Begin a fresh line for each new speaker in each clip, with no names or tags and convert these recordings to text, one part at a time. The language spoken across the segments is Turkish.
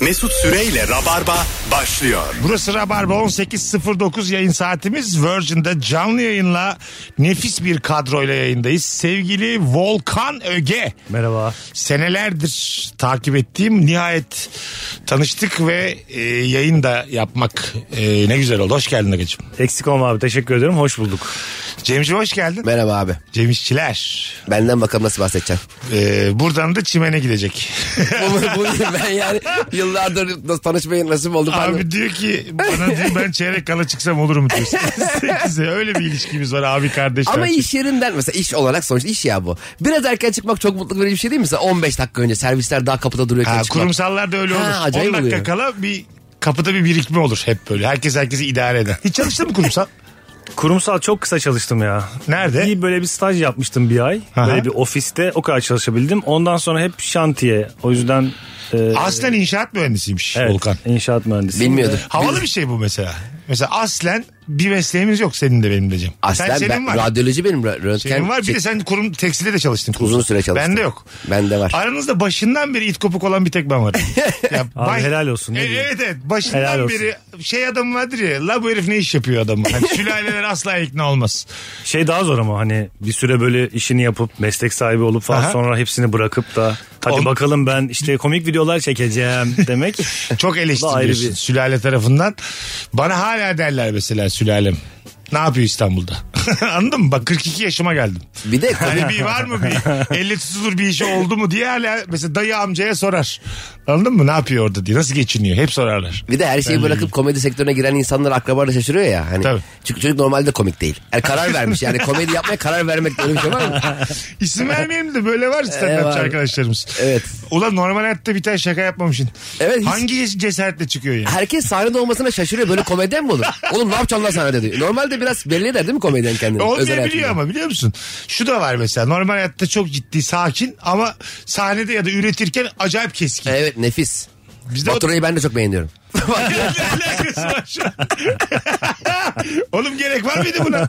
Mesut Süreyle Rabarba başlıyor.
Burası Rabarba 18.09 yayın saatimiz. Virgin'de canlı yayınla nefis bir kadroyla yayındayız. Sevgili Volkan Öge.
Merhaba.
Senelerdir takip ettiğim nihayet tanıştık ve e, yayın da yapmak e, ne güzel oldu. Hoş geldin Agacığım.
Eksik olma abi. Teşekkür ederim. Hoş bulduk.
Cemciğim hoş geldin.
Merhaba abi.
Cem İşçiler.
Benden bakalım nasıl bahsedeceksin.
E, buradan da çimene gidecek.
bunu, bunu ben yani yıllardır nasıl tanışmaya nasip oldu. falan.
Abi diyor ki bana diyor ben çeyrek kala çıksam olur mu diyor. Sekize öyle bir ilişkimiz var abi kardeşler.
Ama iş yerinden mesela iş olarak sonuçta iş ya bu. Biraz erken çıkmak çok mutluluk verici bir şey değil mi? Mesela 15 dakika önce servisler daha kapıda duruyorken
Ha,
çıkmak.
kurumsallar da öyle
Ha,
olur. 10
acayip
dakika
oluyor.
kala bir kapıda bir birikme olur hep böyle. Herkes herkesi idare eder. Hiç çalıştın mı kurumsal?
Kurumsal çok kısa çalıştım ya.
Nerede?
Bir böyle bir staj yapmıştım bir ay.
Aha.
Böyle bir ofiste o kadar çalışabildim. Ondan sonra hep şantiye. O yüzden e,
Aslen inşaat mühendisiymiş
evet,
Volkan.
inşaat mühendisi.
Bilmiyordum.
Havalı bir şey bu mesela. Mesela aslen bir mesleğimiz yok senin de benim de Cem.
Aslen
Sen, senin
ben,
var.
radyoloji benim ra- röntgen.
senin var. Bir
şey-
de sen kurum tekstilde de çalıştın. kurumsal.
Uzun süre çalıştım.
Bende yok.
Bende var.
Aranızda başından beri it kopuk olan bir tek ben varım. Ya
Abi
bay-
helal olsun, ne
E,
diyeyim?
evet evet. Başından
Helal olsun.
beri şey adam vardır ya. La bu herif ne iş yapıyor adamı. Hani sülaleler asla ikna olmaz.
Şey daha zor ama hani bir süre böyle işini yapıp meslek sahibi olup falan
Aha.
sonra hepsini bırakıp da hadi
Oğlum-
bakalım ben işte komik videolar çekeceğim demek.
Çok
Bu da ayrı
eleştiriliyorsun
bir-
sülale tarafından. Bana hala derler mesela sülalem. Ne yapıyor İstanbul'da? Anladın mı? Bak 42 yaşıma geldim.
Bir de
Hani bir var mı bir elle tutulur bir işi oldu mu diye hala mesela dayı amcaya sorar. Anladın mı? Ne yapıyor orada diye. Nasıl geçiniyor? Hep sorarlar.
bir de her şeyi bırakıp komedi sektörüne giren insanlar akrabalarla şaşırıyor ya. Hani
Tabii.
Çünkü çocuk normalde komik değil. Yani karar vermiş yani komedi yapmaya karar vermek böyle bir şey var mı?
İsim vermeyeyim de böyle var stand
var.
arkadaşlarımız.
Evet.
Ulan normal hayatta bir tane şaka yapmamışsın.
Evet, hiç-
Hangi cesaretle çıkıyor yani?
Herkes sahnede olmasına şaşırıyor. Böyle komedyen mi olur? Oğlum ne yapacaksın lan sahnede diyor. Normalde biraz belli eder değil mi komedyen kendini? Özel hayatında.
Olmayabiliyor ama biliyor musun? Şu da var mesela normal hayatta çok ciddi sakin ama sahnede ya da üretirken acayip keskin.
Evet nefis.
Bizde o-
Baturay'ı ben de çok beğeniyorum.
Ne alakası var şu an? Oğlum gerek var mıydı buna?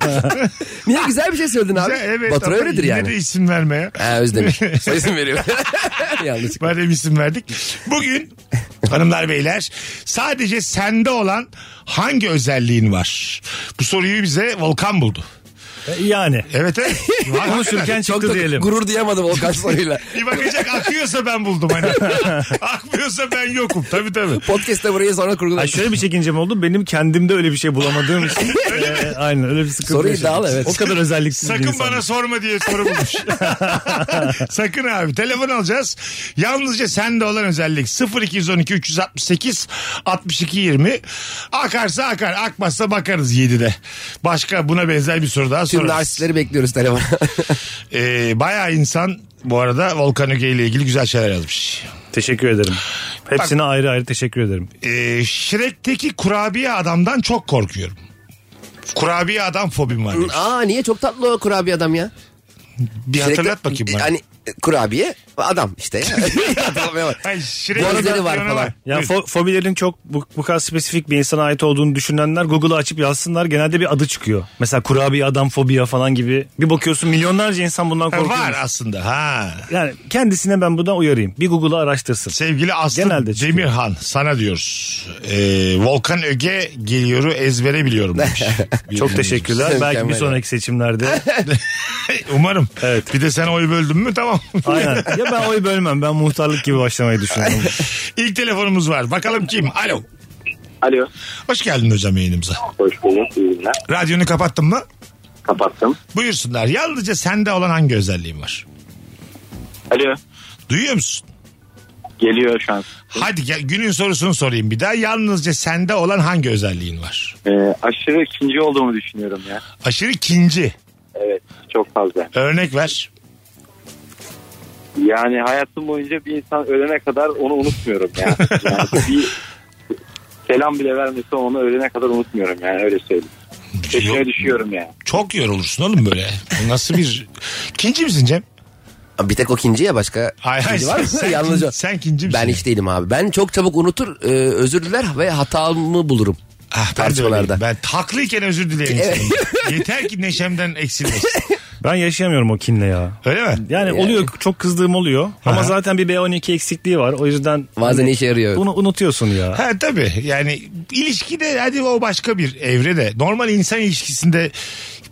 Niye güzel bir şey söyledin abi?
evet,
Batura
ama
öyledir
yine de
yani.
isim vermeye.
Ha Özdemir. Soyisim veriyor. Yanlış.
Madem isim verdik. Bugün hanımlar beyler sadece sende olan hangi özelliğin var? Bu soruyu bize Volkan buldu.
Ee, yani.
Evet evet. Var
Konuşurken
Çok
çıktı
da
diyelim.
gurur duyamadım Volkan soruyla.
Bir bakacak akıyorsa ben buldum hani. Akmıyorsa ben yokum. Tabii tabii.
Podcast'te burayı sonra
Ay
kurgulayalım.
şöyle bir çekincem oldu. Benim kendimde öyle bir şey bulamadığım için. e, aynen öyle bir sıkıntı.
Soruyu
yaşadım.
dağıl, evet.
O kadar özelliksiz bir
Sakın
insanım.
bana sorma diye soru bulmuş. Sakın abi. Telefon alacağız. Yalnızca sende olan özellik 0212 368 62 20. Akarsa akar. Akmazsa bakarız 7'de. Başka buna benzer bir soru daha
Tüm
sorarız.
narsistleri bekliyoruz telefona.
Ee, bayağı insan bu arada Volkan Öge ile ilgili güzel şeyler yazmış.
Teşekkür ederim. Hepsine ayrı ayrı teşekkür ederim.
Ee, Shrek'teki kurabiye adamdan çok korkuyorum. Kurabiye adam fobim var. demiş.
Aa niye çok tatlı o kurabiye adam ya.
Bir hatırlat bakayım bana.
Hani kurabiye adam işte. Hatırlamaya bak.
Ay, Shrek
Boğazları var
yönü
falan.
Ya fo- fobilerin çok bu, bu kadar spesifik bir insana ait olduğunu düşünenler Google'ı açıp yazsınlar genelde bir adı çıkıyor. Mesela kurabiye adam fobiya falan gibi. Bir bakıyorsun milyonlarca insan bundan
Ha,
korkuyor.
var aslında. Ha.
Yani kendisine ben buradan uyarayım. Bir Google'ı araştırsın.
Şey
Sevgili Aslı
Genelde çıkıyor.
Demirhan sana diyoruz. Ee, Volkan Öge geliyoru ezbere biliyorum demiş.
Çok teşekkürler. Belki bir
Şey Mükemmel.
sonraki seçimlerde.
Umarım.
Evet.
Bir de sen oy böldün mü tamam.
Aynen. Ya ben oy bölmem. Ben muhtarlık gibi başlamayı düşünüyorum.
İlk telefonumuz var. Bakalım kim? Alo.
Alo.
Hoş geldin hocam yayınımıza.
Hoş bulduk. İyi günler.
Radyonu kapattın mı?
Kapattım.
Buyursunlar. Yalnızca sende olan hangi özelliğin var?
Alo.
Duyuyor musun?
Geliyor şu an.
Hadi gel, günün sorusunu sorayım bir daha. Yalnızca sende olan hangi özelliğin var?
Ee, aşırı ikinci olduğumu düşünüyorum ya.
Aşırı ikinci.
Evet. Çok fazla.
Örnek ver.
Yani hayatım boyunca bir insan ölene kadar onu unutmuyorum ya. Yani bir selam bile vermese onu ölene kadar unutmuyorum yani öyle söyleyeyim. Peşine düşüyorum yani.
Çok yorulursun oğlum böyle. Bu Nasıl bir... İkinci misin Cem?
Bir tek o kinci ya başka.
Ay, ay,
kinci var mı?
sen- sen
Yalnızca.
kin- sen kinci misin
Ben
ya?
hiç değilim abi. Ben çok çabuk unutur, e, özür diler ve hatamı bulurum.
Ah, ben, de
Tartışmalarda.
öyleyim. ben haklıyken özür dilerim. insandan. Yeter ki neşemden eksilmesin.
Ben yaşayamıyorum o kinle ya.
Öyle mi?
Yani oluyor çok kızdığım oluyor ama zaten bir B12 eksikliği var o yüzden
Bazen
hani
işe yarıyor.
Bunu unutuyorsun ya.
Ha tabii yani ilişkide hadi o başka bir evre de normal insan ilişkisinde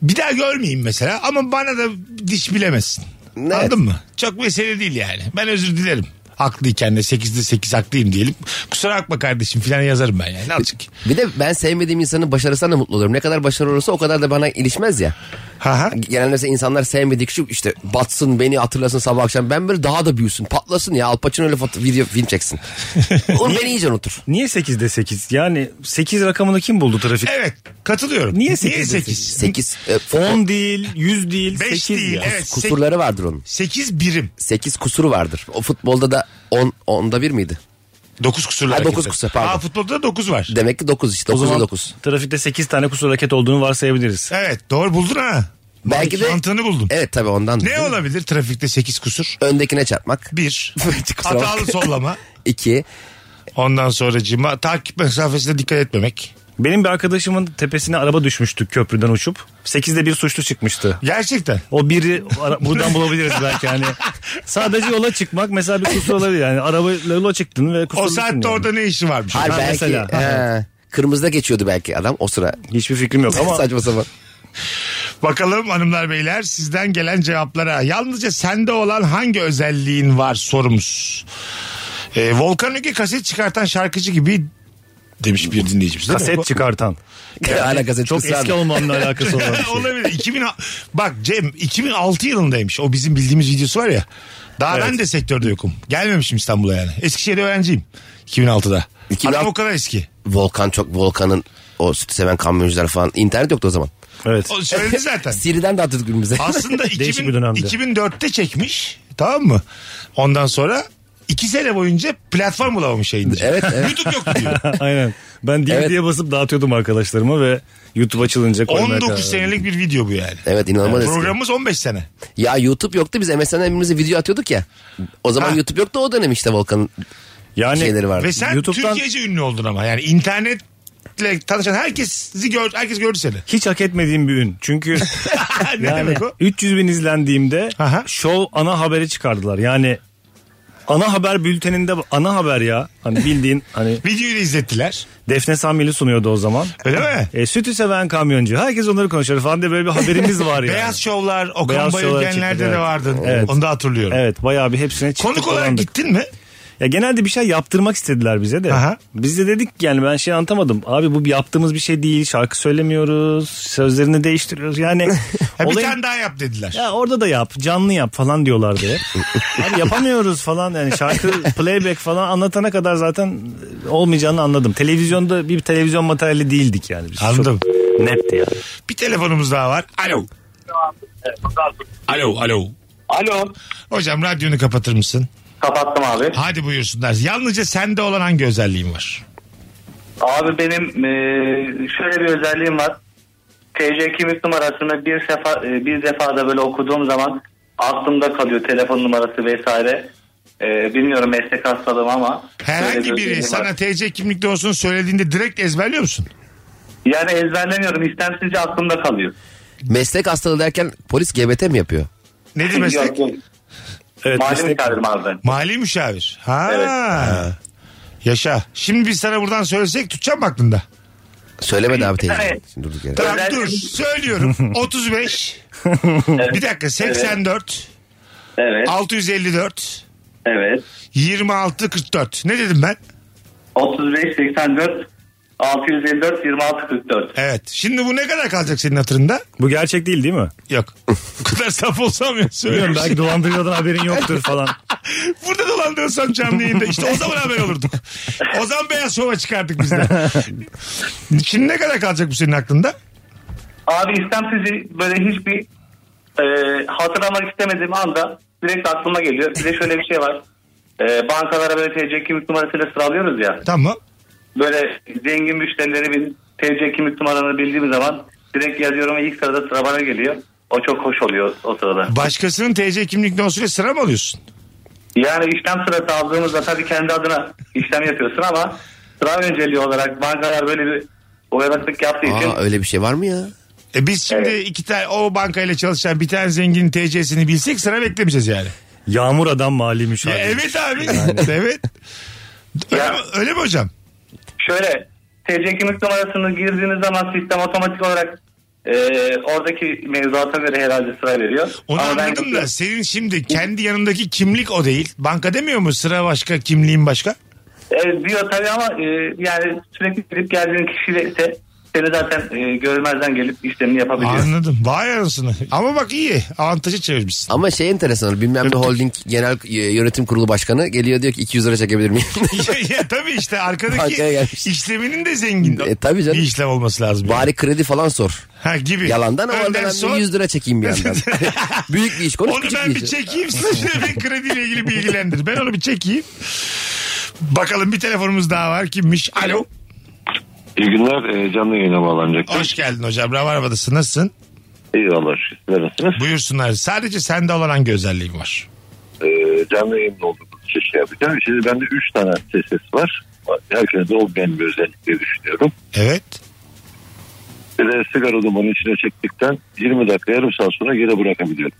bir daha görmeyeyim mesela ama bana da diş bilemesin.
Evet.
Anladın mı? Çok mesele değil yani. Ben özür dilerim. Haklıyken de 8'de 8 haklıyım diyelim. Kusura bakma kardeşim filan yazarım ben yani. Azıcık.
Bir de ben sevmediğim insanın başarısından da mutlu olurum. Ne kadar başarılı olursa o kadar da bana ilişmez ya.
Ha ha.
Genelde mesela insanlar sevmedik şu işte batsın beni hatırlasın sabah akşam. Ben böyle daha da büyüsün patlasın ya. Al Pacino öyle foto- video film çeksin. Onu beni iyice unutur.
Niye 8'de 8? Yani 8 rakamını kim buldu trafik?
Evet katılıyorum.
Niye sekiz
Niye
de
8?
8
10 değil, 100 değil,
5
8
değil.
ya.
Evet.
e, kusurları vardır onun.
8 birim.
8 kusuru vardır. O futbolda da 10 onda 1 miydi?
9 kusurlu
Ha, dokuz
hareketler.
kusur, pardon.
Aa, futbolda da 9 var.
Demek ki 9 işte.
O
9'a
zaman
9.
trafikte 8 tane kusur hareket olduğunu varsayabiliriz.
Evet doğru buldun ha.
Belki de E-
Mantığını buldun.
Evet tabii ondan.
Ne olabilir trafikte 8 kusur?
Öndekine çarpmak.
1.
Kusura bakma.
Hatalı sollama.
2.
Ondan sonra cima takip mesafesine dikkat etmemek.
Benim bir arkadaşımın tepesine araba düşmüştü köprüden uçup. 8'de bir suçlu çıkmıştı.
Gerçekten.
O biri ara- buradan bulabiliriz belki hani. Sadece yola çıkmak mesela bir kusur olabilir yani. Arabayla yola çıktın ve
O
kusurlusun.
saatte
yani.
orada ne işi varmış?
Hayır
Ha,
belki.
mesela.
He. Kırmızıda geçiyordu belki adam o sıra.
Hiçbir fikrim yok ama
Saçma sapan.
Bakalım hanımlar beyler sizden gelen cevaplara. Yalnızca sende olan hangi özelliğin var sorumuz. Ee, Volkan Ülke kaset çıkartan şarkıcı gibi demiş bir dinleyicimiz değil mi?
kaset çıkartan.
Hala gazete
Çok
kısa
eski
adam.
olmamla alakası olan bir şey.
Olabilir. 2000 bak Cem 2006 yılındaymış. O bizim bildiğimiz videosu var ya. Daha ben de sektörde yokum. Gelmemişim İstanbul'a yani. Eskişehir'de öğrenciyim 2006'da.
2006
Adam o kadar eski.
Volkan çok Volkan'ın o sütü seven kamyoncular falan. internet yoktu o zaman.
Evet.
O söyledi zaten.
Siri'den dağıtıyorduk birbirimize.
Aslında
Değişik
2000,
bir dönemdi.
2004'te çekmiş tamam mı? Ondan sonra iki sene boyunca platform bulamamış yayıncı.
Evet, evet.
YouTube yoktu diyor.
Aynen. Ben DVD'ye
Evet.
basıp dağıtıyordum arkadaşlarıma ve YouTube açılınca koymaya
19
karar verdim.
senelik bir video bu yani.
Evet inanılmaz eski.
Programımız 15 sene.
Ya YouTube yoktu biz MSN'den birbirimize video atıyorduk ya. O zaman
Ha.
YouTube yoktu o dönem işte Volkan'ın
Yani
şeyleri vardı.
Ve sen
YouTube'dan-
Türkiye'ce ünlü oldun ama yani internetle tanışan herkesi gör, herkes gördü seni.
hiç hak etmediğim bir ün. Çünkü
ne
yani
demek o?
300 bin izlendiğimde
Aha.
show ana habere çıkardılar. Yani ana haber bülteninde ana haber ya. Hani bildiğin hani
Videoyu da izlettiler.
Defne Samyeli sunuyordu o zaman.
Öyle mi?
E, sütü seven kamyoncu. Herkes onları konuşuyor falan diye böyle bir haberimiz var yani.
Beyaz şovlar, Okan
Beyaz şovlar
Bayülgenler'de
çıktı,
de
evet.
vardın.
Evet.
Onu da hatırlıyorum.
Evet bayağı bir hepsine çıktık.
Konuk olarak
dolandık.
gittin mi?
Ya genelde bir şey yaptırmak istediler bize de.
Aha.
Biz de dedik ki yani ben şey anlatamadım. Abi bu yaptığımız bir şey değil. Şarkı söylemiyoruz. Sözlerini değiştiriyoruz. Yani
Ha, bir
olayın-
tane daha yap dediler.
Ya orada da yap, canlı yap falan diyorlardı. hep. Abi yapamıyoruz falan yani şarkı playback falan anlatana kadar zaten olmayacağını anladım. Televizyonda bir televizyon materyali değildik yani biz.
Anladım.
Çok netti yani.
Bir telefonumuz daha var. Alo. Alo, alo.
Alo.
Hocam radyonu kapatır mısın?
Kapattım abi.
Hadi buyursunlar. Yalnızca sende olan hangi özelliğin var?
Abi benim e, şöyle bir özelliğim var. TC kimlik numarasını bir sefa e, bir defada böyle okuduğum zaman aklımda kalıyor telefon numarası vesaire. E, bilmiyorum meslek hastalığım ama şöyle
Herhangi
bir
biri
özelliğim şey var.
sana TC kimlikte olsun söylediğinde direkt ezberliyor musun?
yani ezberlemiyorum istemsizce aklımda kalıyor.
meslek hastalığı derken polis GBT mi yapıyor?
Nedir meslek?
Yok, yok.
Evet,
Mali
meslek-
müşavirim abi ben.
Mali müşavir. Ha.
Evet.
Yaşa. Şimdi biz sana buradan söylesek tutacağım mı aklında?
Söylemedi abi teyze.
Evet.
Şimdi durduk yere.
Tamam
Özellikle-
dur. Söylüyorum. 35. bir dakika. 84.
Evet
654.
evet.
26 44. Ne dedim ben?
35 84 654 26 44.
Evet. Şimdi bu ne kadar kalacak senin hatırında?
Bu gerçek değil değil mi?
Yok. bu kadar saf olsam ya
Bilmiyorum
söylüyorum.
belki dolandırıcıdan haberin yoktur falan.
Burada dolandırsam canlı yayında işte o zaman haber olurduk. O zaman beyaz şova çıkardık biz de. Şimdi ne kadar kalacak bu senin aklında?
Abi istemsizce böyle hiçbir e, hatırlamak istemediğim anda direkt aklıma geliyor. Bir de şöyle bir şey var. E, bankalara böyle TC kimlik numarasıyla sıralıyoruz ya.
Tamam.
Böyle zengin müşterileri bir TC kimlik numaranı bildiğim zaman direkt yazıyorum ve ilk sırada sıra bana geliyor. O çok hoş oluyor o sırada.
Başkasının TC kimlik nosuyla sıra mı alıyorsun?
Yani işlem sırası aldığımızda tabii kendi adına işlem yapıyorsun ama sıra önceliği olarak bankalar böyle bir uyanıklık yaptığı için
Aa, öyle bir şey var mı ya?
E biz şimdi
Evet.
iki tane o bankayla çalışan bir tane zenginin TC'sini bilsek sıra beklemeyeceğiz yani.
Yağmur adam mali
Ya
müşavir.
evet abi. evet. Öyle, mi, öyle mi hocam?
şöyle TC kimlik numarasını girdiğiniz zaman sistem otomatik olarak e, oradaki mevzuata göre herhalde sıra veriyor.
Onu
Ama ben-
anladım da senin şimdi kendi yanındaki kimlik o değil. Banka demiyor mu sıra başka kimliğin başka?
E, diyor tabii ama e, yani sürekli gidip geldiğin kişiyle ise seni zaten e, görmezden gelip işlemini yapabiliyor.
Anladım. Vay anasını. Ama bak iyi. Avantaja çevirmişsin.
Ama şey enteresan bilmem ne holding genel e, yönetim kurulu başkanı geliyor diyor ki 200 lira çekebilir miyim?
ya, ya tabii işte arkadaki
Bankaya gelmiş.
işleminin de zengin.
E, tabii canım.
Bir işlem olması lazım. yani.
Bari kredi falan sor.
Ha gibi.
Yalandan ama
Önden
oradan
sor.
bir 100 lira çekeyim bir yandan. Büyük bir iş konuş
Onu
küçük
ben
bir
bir
iş.
çekeyim size bir krediyle ilgili bilgilendir. Ben onu bir çekeyim. Bakalım bir telefonumuz daha var. Kimmiş? Alo.
İyi günler. Ee, canlı yayına bağlanacaktım.
Hoş geldin hocam. Rabarba'dasın. Nasılsın?
Eyvallah. Sizler nasılsınız?
Buyursunlar. Sadece sende olan hangi özelliğim var?
Ee, canlı yayında olduğumuz için şey yapacağım. Şimdi bende 3 tane ses var. Herkese olmayan bir özellik diye düşünüyorum.
Evet.
Bir de sigara dumanı içine çektikten 20 dakika yarım saat sonra geri bırakabiliyorum.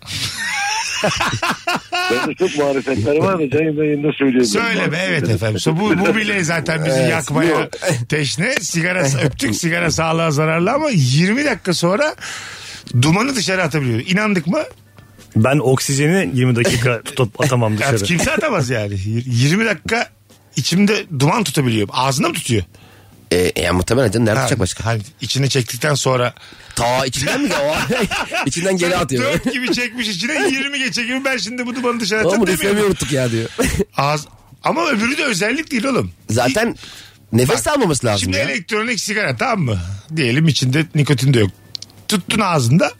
Bende çok marifetler var da canlı yayında söyleyemiyorum.
Söyleme evet efendim. So, bu, bu bile zaten bizi yakmaya teşne. Sigara öptük sigara sağlığa zararlı ama 20 dakika sonra dumanı dışarı atabiliyor. İnandık mı?
Ben oksijeni 20 dakika tutup atamam
Ya
dışarı.
kimse atamaz yani. 20 dakika içimde duman tutabiliyor. Ağzına mı tutuyor?
E, e, muhtemelen canım nerede
Ha,
tutacak başka?
Hani içine çektikten sonra
Ta içinden mi? O, içinden geri atıyor.
Dört gibi çekmiş içine 20 geçe gibi ben şimdi bu dumanı dışarı
Oğlum
atacağım
bunu
demiyorum.
üflemiyor ya diyor.
Ağız... Ama öbürü de özellik değil oğlum.
Zaten nefes de almaması lazım
Şimdi
ya.
elektronik sigara tamam mı? Diyelim içinde nikotin de yok. Tuttun ağzında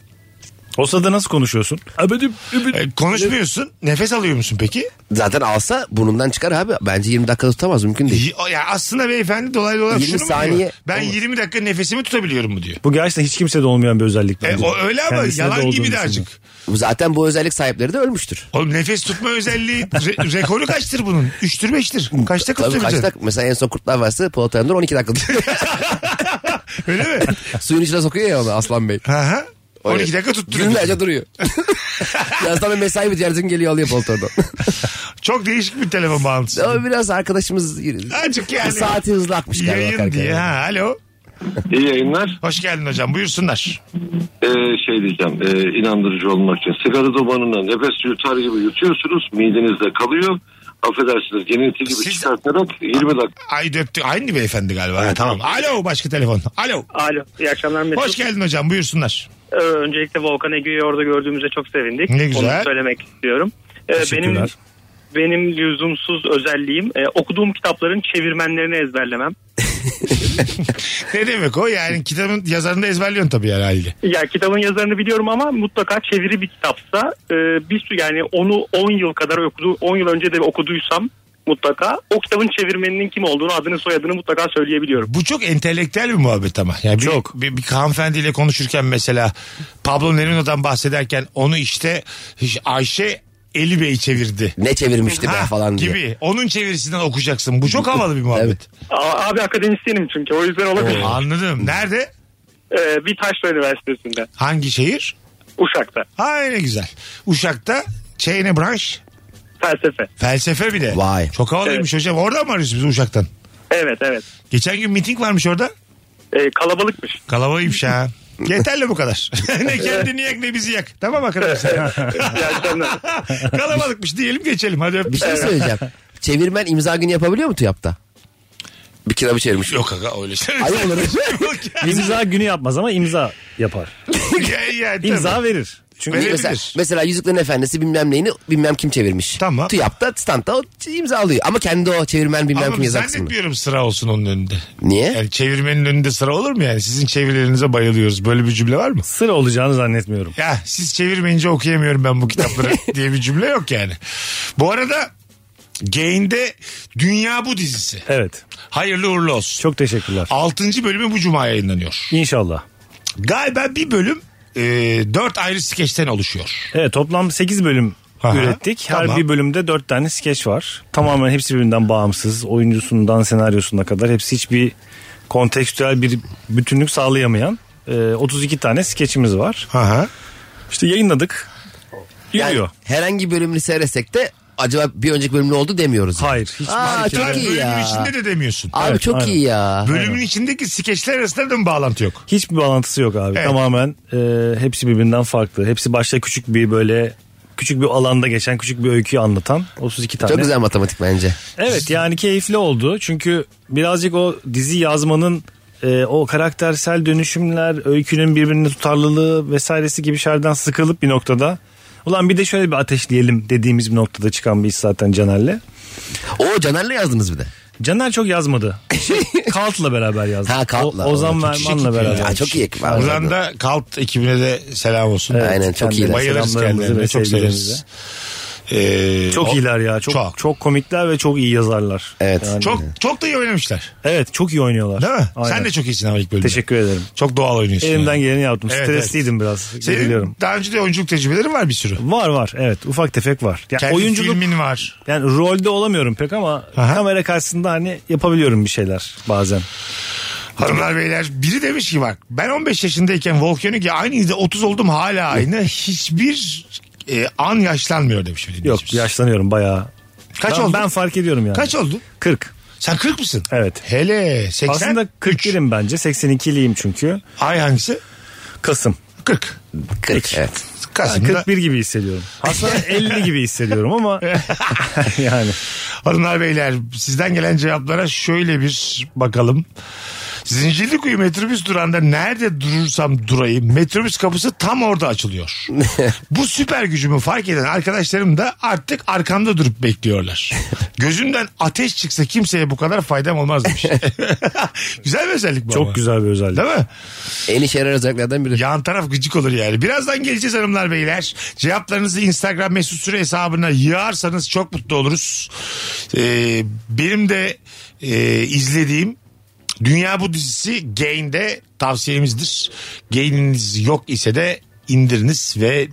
O sırada nasıl konuşuyorsun? Abedim,
e, konuşmuyorsun. Nefes alıyor musun peki?
Zaten alsa burnundan çıkar abi. Bence 20 dakika tutamaz mümkün değil.
Y- o- Ya aslında beyefendi dolaylı olarak
20
şunu mu
E, saniye-
diyor? Ben
Olur.
20 dakika nefesimi tutabiliyorum mu diyor.
Bu gerçekten hiç kimsede olmayan bir özellik
E,
bence.
o öyle ama
Kendisinde de
yalan
olduğunu
gibi de
düşünüyorum.
acık.
Zaten bu özellik sahipleri de ölmüştür.
Oğlum nefes tutma özelliği re- rekoru kaçtır bunun? Üçtür beştir. Kaçta
Tabii kaç
kaçtır?
dakika? Mesela en son Kurtlar Vadisi Polat Alemdar 12 dakika.
Öyle mi?
Suyun içine sokuyor ya onu Aslan Bey.
Hı hı. 12 dakika tutturuyor.
Günlerce duruyor. Biraz sonra mesai bitiyor. Ertesi gün geliyor alıyor Poltor'dan.
Çok değişik bir telefon bağlantısı.
Ama biraz arkadaşımız
Azıcık yani.
saati hızlı akmış galiba.
Yayın
bakarken.
diye. Ha, alo.
İyi yayınlar.
Hoş geldin hocam. Buyursunlar.
Ee, şey diyeceğim e, inandırıcı olmak için. Sigara dumanına nefes yutar gibi yutuyorsunuz. Midenizde kalıyor. Affedersiniz gelinti gibi
Siz-
çıkartarak 20 dakika.
Ay döptü. Aynı beyefendi galiba. Ha, tamam. Alo başka telefon. Alo.
Alo, iyi akşamlar Mesut.
Hoş geldin hocam. Buyursunlar.
Ee, öncelikle Volkan Ege'yi orada gördüğümüze çok sevindik.
Ne güzel.
Onu söylemek istiyorum. Ee, benim
Teşekkürler.
benim lüzumsuz özelliğim e, okuduğum kitapların çevirmenlerini ezberlemem.
Ne demek o? Yani kitabın yazarını da ezberliyorsun tabii yani haliyle.
Ya kitabın yazarını biliyorum ama mutlaka çeviri bir kitapsa e, bir sürü yani onu 10 yıl kadar okudu 10 yıl önce de okuduysam mutlaka o kitabın çevirmeninin kim olduğunu adını soyadını mutlaka söyleyebiliyorum.
Bu çok entelektüel bir muhabbet ama. Yani bir, çok. Bir, bir hanımefendiyle konuşurken mesela Pablo Neruda'dan bahsederken onu işte Ayşe Eli Bey çevirdi.
Ne çevirmişti
Ha,
be falan diye.
gibi. Onun çevirisinden okuyacaksın. Bu çok havalı bir muhabbet.
A- abi akademisyenim çünkü o yüzden olabilir.
Anladım. Nerede?
E, bir Taşra Üniversitesi'nde
Hangi şehir?
Uşak'ta
Ha ne güzel. Uşak'ta şey ne branş?
felsefe.
Felsefe bir de.
Vay.
Çok havalıymış hocam. Oradan mı arıyorsun bizi Uşak'tan?
Evet evet.
Geçen gün miting varmış orada.
E, kalabalıkmış.
Kalabalıymış ha. Yeterli bu kadar. ne kendini yak ne bizi yak. Tamam arkadaşlar.
İyi akşamlar.
Kalabalıkmış diyelim geçelim. Hadi öptük.
Bir şey söyleyeceğim. Çevirmen imza günü yapabiliyor mu TÜYAP'ta? Bir kitabı çevirmiş.
Yok aga öyle şey.
Ayıp olur.
İmza günü yapmaz ama imza yapar.
Ya, ya, tabii.
İmza verir. Çünkü
Verebilir.
Mesela, mesela Yüzüklerin Efendisi bilmem neyini bilmem kim çevirmiş.
Tamam.
TÜYAP'ta standta o imza alıyor. Ama kendi o çevirmen bilmem kim
Ama
yazar kısmını.
zannetmiyorum sıra olsun onun önünde.
Niye?
Yani çevirmenin önünde sıra olur mu yani? Sizin çevirilerinize bayılıyoruz. Böyle bir cümle var mı?
sıra olacağını zannetmiyorum.
Ya siz çevirmeyince okuyamıyorum ben bu kitapları diye bir cümle yok yani. Bu arada Gain'de Dünya Bu dizisi.
Evet.
Hayırlı uğurlu olsun.
Çok teşekkürler.
6. bölümü bu cuma yayınlanıyor.
İnşallah.
Galiba bir bölüm e, 4 ayrı skeçten oluşuyor.
Evet toplam 8 bölüm
Aha,
ürettik. Her
tamam.
bir bölümde 4 tane skeç var. Tamamen hepsi birbirinden bağımsız. Oyuncusundan senaryosuna kadar hepsi hiçbir kontekstüel bir bütünlük sağlayamayan e, 32 tane skeçimiz var.
Aha.
İşte yayınladık. Yürüyor.
Yani herhangi bölümünü seyretsek de acaba bir önceki bölüm ne oldu demiyoruz. yani.
Hayır. Hiç
Aa, çok iyi
bölümün
ya.
içinde de demiyorsun.
Abi
Evet,
çok
aynen.
iyi ya.
Bölümün içindeki skeçler arasında da mı bağlantı yok?
Hiçbir bağlantısı yok abi.
Evet.
Tamamen e, hepsi birbirinden farklı. Hepsi başta küçük bir böyle küçük bir alanda geçen küçük bir öyküyü anlatan 32 tane.
Çok güzel matematik bence.
Evet yani keyifli oldu. Çünkü birazcık o dizi yazmanın e, o karaktersel dönüşümler, öykünün birbirine tutarlılığı vesairesi gibi şeylerden sıkılıp bir noktada ulan bir de şöyle bir ateşleyelim dediğimiz bir noktada çıkan bir iş zaten Caner'le.
O Caner'le yazdınız bir de.
Caner çok yazmadı. Şey, Kalt'la beraber yazdı.
Ha, Kalt'la.
O- Ozan
Çok
Verman'la beraber.
Ya, çok iyi ekip abi.
Buradan da Kalt ekibine de selam olsun.
Evet, Aynen, çok iyiler.
Bayılırız
Selamlarımızı
kendilerine.
ve
Çok
sevgilerimizi.
severiz. Ee,
Çok
o-
iyiler ya. Çok,
Çok.
çok komikler ve çok iyi yazarlar.
Evet.
Çok, çok da iyi oynamışlar.
Evet, çok iyi oynuyorlar.
Değil mi?
Aynen.
Sen de çok iyisin ama ilk bölümde.
Teşekkür ederim.
Çok doğal oynuyorsun.
Elimden
yani.
geleni yaptım.
Evet,
Stresliydim biraz.
Senin
Biliyorum.
daha önce de oyunculuk tecrübelerin var bir sürü.
Var var. Evet, ufak tefek var. Yani
Kendi
oyunculuk
filmin var.
yani rolde olamıyorum pek ama
Aha.
kamera karşısında hani yapabiliyorum bir şeyler bazen.
Hanımlar beyler biri demiş ki bak ben 15 yaşındayken Volkanik ya aynı izle 30 oldum hala aynı. Hiçbir e, an yaşlanmıyor demiş. bir
Yok
dinleyicimiz.
yaşlanıyorum bayağı.
Kaç
ben,
oldun?
Ben fark ediyorum yani.
Kaç oldun?
40.
Sen 40 mısın?
Evet.
Hele 80.
Aslında 41'im bence. 82'liyim çünkü.
Ay hangisi?
Kasım.
40.
Kırk, Evet.
Kasım'da.
41 gibi hissediyorum. Aslında 50 gibi hissediyorum ama yani.
Hanımlar beyler sizden gelen cevaplara şöyle bir bakalım. Zincirlikuyu metrobüs durağında nerede durursam durayım metrobüs kapısı tam orada açılıyor. Bu süper gücümü fark eden arkadaşlarım da artık arkamda durup bekliyorlar. Gözümden ateş çıksa kimseye bu kadar faydam olmaz demiş. güzel bir özellik bu ama.
Çok güzel bir özellik.
Değil mi?
En işe yarar özelliklerden biri.
Yan taraf gıcık olur yani. Birazdan geleceğiz hanımlar beyler. Cevaplarınızı Instagram mesut süre hesabına yığarsanız çok mutlu oluruz. Ee, benim de e, izlediğim Dünya Bu dizisi Gain'de tavsiyemizdir. Gain'iniz yok ise de indiriniz ve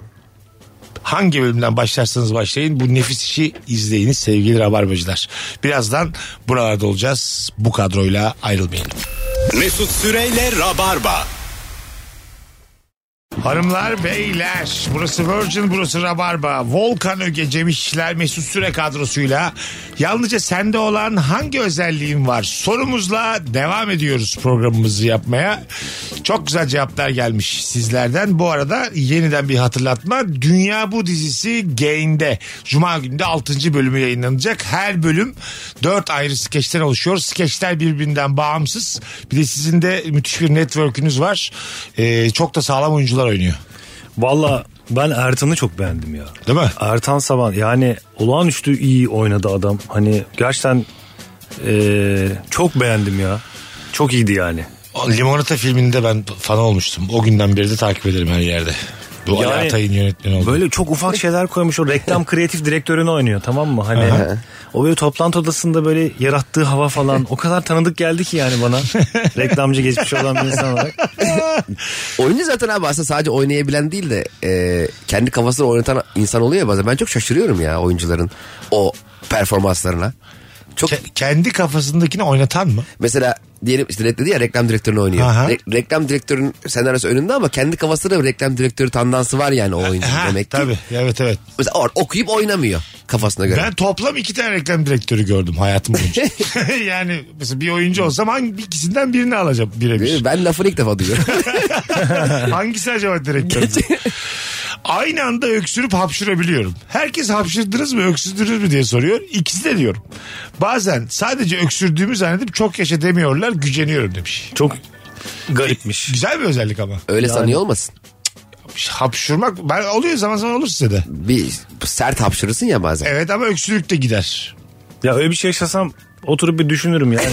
hangi bölümden başlarsanız başlayın bu nefis işi izleyiniz sevgili rabarbacılar. Birazdan buralarda olacağız. Bu kadroyla ayrılmayın.
Mesut Süreyle Rabarba.
Hanımlar beyler burası Virgin burası Rabarba Volkan Öge Cemişler Mesut Süre kadrosuyla yalnızca sende olan hangi özelliğin var sorumuzla devam ediyoruz programımızı yapmaya çok güzel cevaplar gelmiş sizlerden bu arada yeniden bir hatırlatma Dünya Bu dizisi Gain'de Cuma günde 6. bölümü yayınlanacak her bölüm 4 ayrı skeçten oluşuyor skeçler birbirinden bağımsız bir de sizin de müthiş bir network'ünüz var Ee, çok da sağlam oyuncular oynuyor
Valla ben Ertan'ı çok beğendim ya.
Değil mi?
Ertan Saban yani olağanüstü iyi oynadı adam. Hani gerçekten eee, çok beğendim ya. Çok iyiydi yani.
O Limonata filminde ben fan olmuştum. O günden beri de takip ederim her yerde. Bu Ali
Yani
Atay'ın yönetmeni oldu.
Böyle çok ufak şeyler koymuş o reklam kreatif direktörünü oynuyor tamam mı? Hani o böyle toplantı odasında böyle yarattığı hava falan o kadar tanıdık geldi ki yani bana. Reklamcı geçmiş olan bir insan olarak.
Oyuncu zaten abi aslında sadece oynayabilen değil de e, kendi kafasını oynatan insan oluyor ya bazen. Ben çok şaşırıyorum ya oyuncuların o performanslarına. Çok
Ke- kendi kafasındakini oynatan mı?
mesela diyelim işte re- dedi ya reklam direktörünü oynuyor.
Aha.
Re- reklam direktörün senaryosu önünde ama kendi kafasında bir reklam direktörü tandansı var yani o oyuncu
Ha,
demek ki.
tabii. Evet evet.
Mesela or- okuyup oynamıyor kafasına göre.
Ben toplam iki tane reklam direktörü gördüm hayatım boyunca. yani mesela bir oyuncu olsam hangi ikisinden birini alacağım birebir.
Ben, lafını ilk defa duyuyorum.
Hangisi acaba direktör? Aynı anda öksürüp hapşırabiliyorum. Herkes hapşırdınız mı öksürdünüz mü diye soruyor. İkisi de diyorum. Bazen sadece öksürdüğümü zannedip çok yaşa demiyorlar güceniyorum demiş. E,
Çok garipmiş.
Güzel bir özellik ama.
Öyle sanıyor olmasın.
hapşurmak ben oluyor zaman zaman olur size de.
Bir sert hapşırırsın ya bazen.
Evet ama öksürük de gider.
Ya öyle bir şey yaşasam oturup bir düşünürüm yani.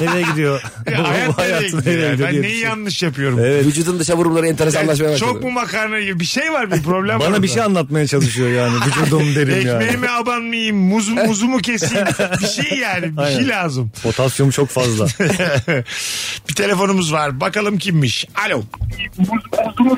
nereye gidiyor?
Ya
Bu-
hayat
bu
nereye
hayatı
gidiyor?
nereye
yani?
gidiyor
Ben neyi
diye düşünüyorum.
yanlış yapıyorum?
Vücudun dışa vurumları enteresanlaşmaya
Yani
başladı.
çok mu makarna gibi bir şey var bir problem var.
Bana bir
orada.
şey anlatmaya çalışıyor yani. Vücudum derim yani.
Ekmeğime aban mıyım? Muz, muzumu keseyim? bir şey yani. Bir şey
Aynen.
lazım.
Potasyum çok fazla.
bir telefonumuz var. Bakalım kimmiş? Alo.
Alo.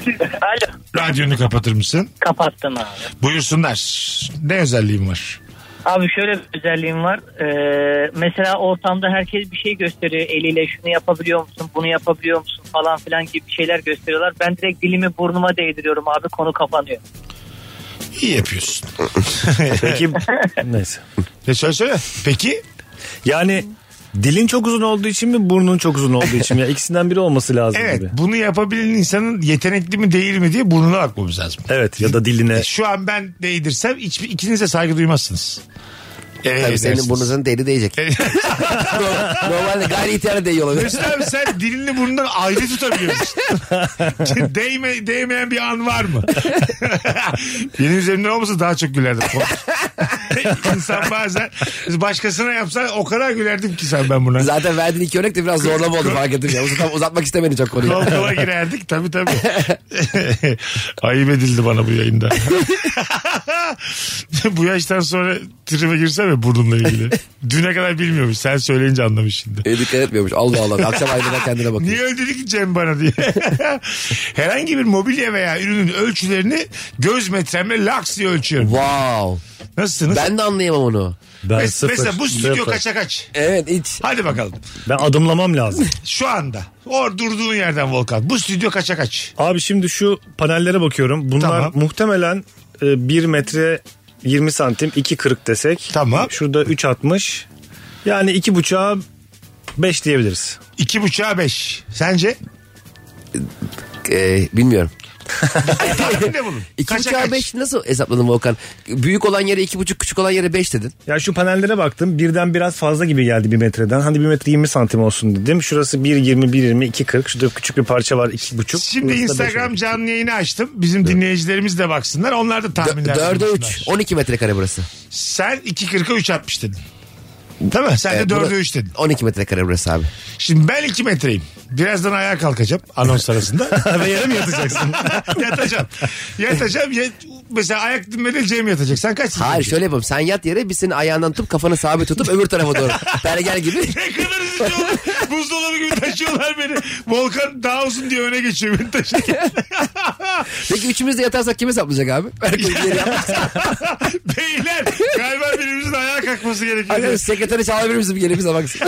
Radyonu kapatır mısın?
Kapattım abi.
Buyursunlar. Ne özelliğin var?
Abi şöyle bir özelliğim var. Ee, mesela ortamda herkes bir şey gösteriyor eliyle. Şunu yapabiliyor musun, bunu yapabiliyor musun falan filan gibi bir şeyler gösteriyorlar. Ben direkt dilimi burnuma değdiriyorum abi konu kapanıyor.
İyi yapıyorsun.
Peki neyse.
Ne söyle söyle. Peki
Yani dilin çok uzun olduğu için mi burnun çok uzun olduğu için mi? Ya ikisinden biri olması lazım
evet
gibi.
bunu yapabilen insanın yetenekli mi değil mi diye burnuna bakmamız lazım.
Evet ya da diline.
Şu an ben değdirsem hiçbir ikiniz de saygı duymazsınız. Ee,
Tabii senin
dersiniz.
burnunuzun deli değecek. Normal- Normalde gayri ihtiyarı değiyor olabilir.
Mesut abi sen dilini burnundan ayrı tutabiliyorsun. Değme, değmeyen bir an var mı? Benim üzerimde olmasa daha çok gülerdim. İnsan bazen başkasına yapsa o kadar gülerdim ki sen ben buna.
Zaten verdiğin iki örnek de biraz zorlama oldu fark ettim. Ya. Uzat- uzatmak istemedi çok konuyu.
Kol kola girerdik tabii tabii. Ayıp edildi bana bu yayında. bu yaştan sonra tribe girsem ya burnumla ilgili. Düne kadar bilmiyormuş. Sen söyleyince anlamış şimdi.
E, dikkat etmiyormuş. Allah Allah. Akşam aynada kendine bakıyor.
Niye öyle dedi ki Cem bana diye. Herhangi bir mobilya veya ürünün ölçülerini göz metremle laks diye ölçüyorum.
Wow.
Nasılsınız?
Ben de anlayamam onu.
Ben
Mes-
sıfır,
mesela bu stüdyo
sıfır.
kaça kaç.
Evet hiç.
Hadi bakalım.
Ben adımlamam lazım.
Şu anda. Or durduğun yerden Volkan. Bu stüdyo kaça kaç.
Abi şimdi şu panellere bakıyorum. Bunlar
Tamam.
muhtemelen 1 metre 20 santim 2.40 desek.
Tamam.
Şurada 3.60. Yani 2.5'a 5 diyebiliriz.
İki buçuğa beş. Sence?
E, bilmiyorum.
Tahmin de bulun.
İki
Kaça
buçuğa
kaç?
beş nasıl hesapladın Volkan? Büyük olan yere iki buçuk, küçük olan yere beş dedin.
Ya şu panellere baktım. Birden biraz fazla gibi geldi 1 metreden. Hani 1 metre 20 santim olsun dedim. Şurası 1.20, 1.20, 2.40. Şurada küçük bir parça var 2.5.
Şimdi
Burası da
Instagram
beş.
canlı yayını açtım. Bizim dinleyicilerimiz de baksınlar. Onlar da tahminler.
Dörde
bulsunlar.
üç. On iki metrekare burası.
Sen 2.40'a 3 atmış dedin. Değil mi? Sen
E,
de 4'e 3 dedin.
On iki metrekare burası abi.
Şimdi ben 2 metreyim. Birazdan ayağa kalkacağım anons arasında.
Ve yere mi yatacaksın?
yatacağım. Yatacağım. Yet- mesela ayak dinmede Cem yatacak. Sen kaçsın?
Hayır şöyle yapalım. Sen yat yere biz senin ayağından tutup kafanı sabit tutup öbür tarafa doğru. Pergel gibi.
Ne kadar üzücü olur. Buzdolabı gibi taşıyorlar beni. Volkan daha uzun diye öne geçiyor beni taşırken.
Peki üçümüz de yatarsak kim hesaplayacak abi? Herkes bir yere yapmış.
Beyler galiba birimizin ayağa kalkması gerekiyor.
Arkadaşlar sekreteri çağırabilir misin bir yere bize baksın.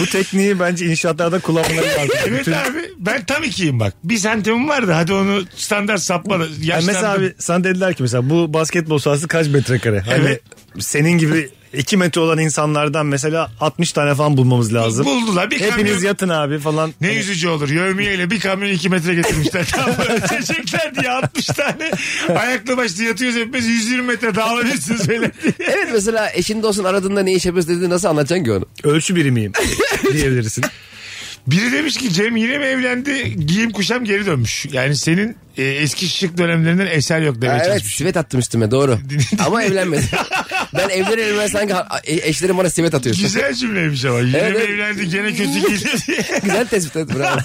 Bu tekniği bence inşaatlarda kullanmaları lazım.
Evet
Bütün-
abi ben tam ikiyim bak. Bir santimim vardı hadi onu standart sapma.
Yani
Yaşlandım.
mesela abi sana dediler ki mesela bu basketbol sahası kaç metrekare? Hani
Evet.
senin gibi 2 metre olan insanlardan mesela 60 tane falan bulmamız lazım.
Buldular bir kamyon.
Hepiniz yatın abi falan.
Ne üzücü olur. Yövmiyeyle bir kamyon iki metre getirmişler. Tam böyle çiçekler diye 60 tane. Ayaklı başlı yatıyoruz hepimiz 120 metre dağılabilirsiniz böyle diye.
evet mesela eşin dostun aradığında ne iş yapıyorsun dediğinde nasıl anlatacaksın ki onu?
Ölçü birimiyim diyebilirsin.
Biri demiş ki Cem yine mi evlendi? Giyim kuşam geri dönmüş. Yani senin e, eski şık dönemlerinden eser yok demeye
Ha, evet
çalışmış.
sivet attım üstüme doğru. Ama evlenmedim. ben evlenir evlenmez sanki ha- e- eşlerim bana sivet atıyor.
Güzel cümleymiş ama. Yine
Evet,
mi
evet.
evlendi gene kötü giydi diye.
Güzel tespit et bravo.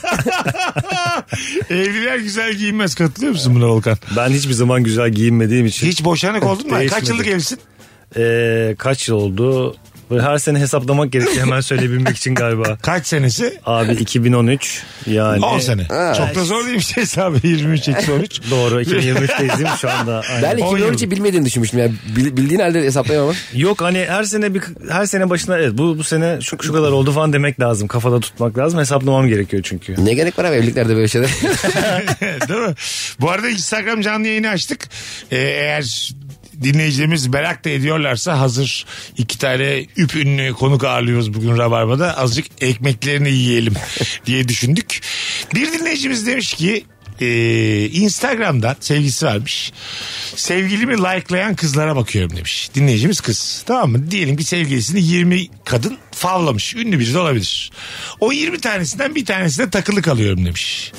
Evliler güzel giyinmez. Katılıyor musun buna Volkan?
Ben hiçbir zaman güzel giyinmediğim için.
Hiç boşanık oldun mu? Kaç
Değişmedi.
yıllık evlisin?
Ee, kaç yıl oldu? Böyle her sene hesaplamak gerekiyor hemen söyleyebilmek için galiba.
Kaç senesi?
Abi 2013
Hani
yani.
10 sene. Çok da zor değilmiş hesabı 23 eksi 13.
Doğru 2023'teyiz değil mi şu anda? Aynen.
Ben
On
2013'ü
yıl.
bilmediğini düşünmüştüm. Yani bil- bildiğin halde hesaplayamam.
Yok hani her sene bir her sene başına evet bu bu sene şu şu kadar oldu falan demek lazım. Kafada tutmak lazım. Hesaplamam gerekiyor çünkü.
ne gerek var abi evliliklerde böyle şeyler.
Değil mi? Bu arada Instagram canlı yayını açtık. Ee, eğer dinleyicilerimiz merak da ediyorlarsa hazır iki tane üp ünlü konuk ağırlıyoruz bugün Rabarba'da. Azıcık ekmeklerini yiyelim diye düşündük. Bir dinleyicimiz demiş ki ee, Instagram'dan sevgisi varmış. Sevgilimi likelayan kızlara bakıyorum demiş. Dinleyicimiz kız. Tamam mı? Diyelim ki sevgilisini 20 kadın favlamış. Ünlü biri de olabilir. O 20 tanesinden bir tanesine takılı kalıyorum demiş.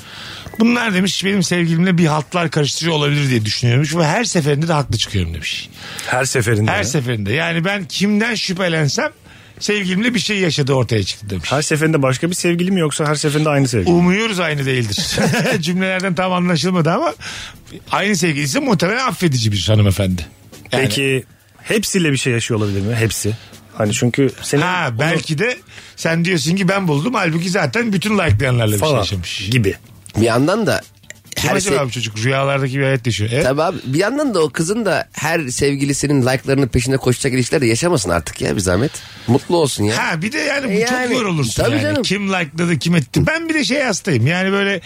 Bunlar demiş benim sevgilimle bir haltlar karıştırıyor olabilir diye düşünüyormuş ve her seferinde de haklı çıkıyorum demiş.
Her seferinde.
Her
Her,
seferinde yani ben kimden şüphelensem sevgilimle bir şey yaşadı ortaya çıktı demiş.
seferinde başka bir sevgili mi yoksa her seferinde aynı sevgili?
Umuyoruz aynı değildir. Cümlelerden tam anlaşılmadı ama aynı sevgilisi muhtemelen affedici bir hanımefendi. Yani-
Peki hepsiyle bir şey yaşıyor olabilir mi? Hepsi. Hani çünkü senin
Ha belki de sen diyorsun ki ben buldum halbuki zaten bütün likelayanlarla bir şey
falan
yaşamış.
gibi.
bir yandan da
Kim
her
acaba
se-
bu çocuk? Rüyalardaki bir hayat yaşıyor. E?
Tabii abi. Bir yandan da o kızın da her sevgilisinin like'larının peşinde koşacak ilişkiler de yaşamasın artık ya bir zahmet. Mutlu olsun ya.
Ha bir de yani bu
E
çok
yani,
yorulursun
tabii
yani.
canım.
Kim like'ladı kim etti. Ben bir de şey hastayım yani böyle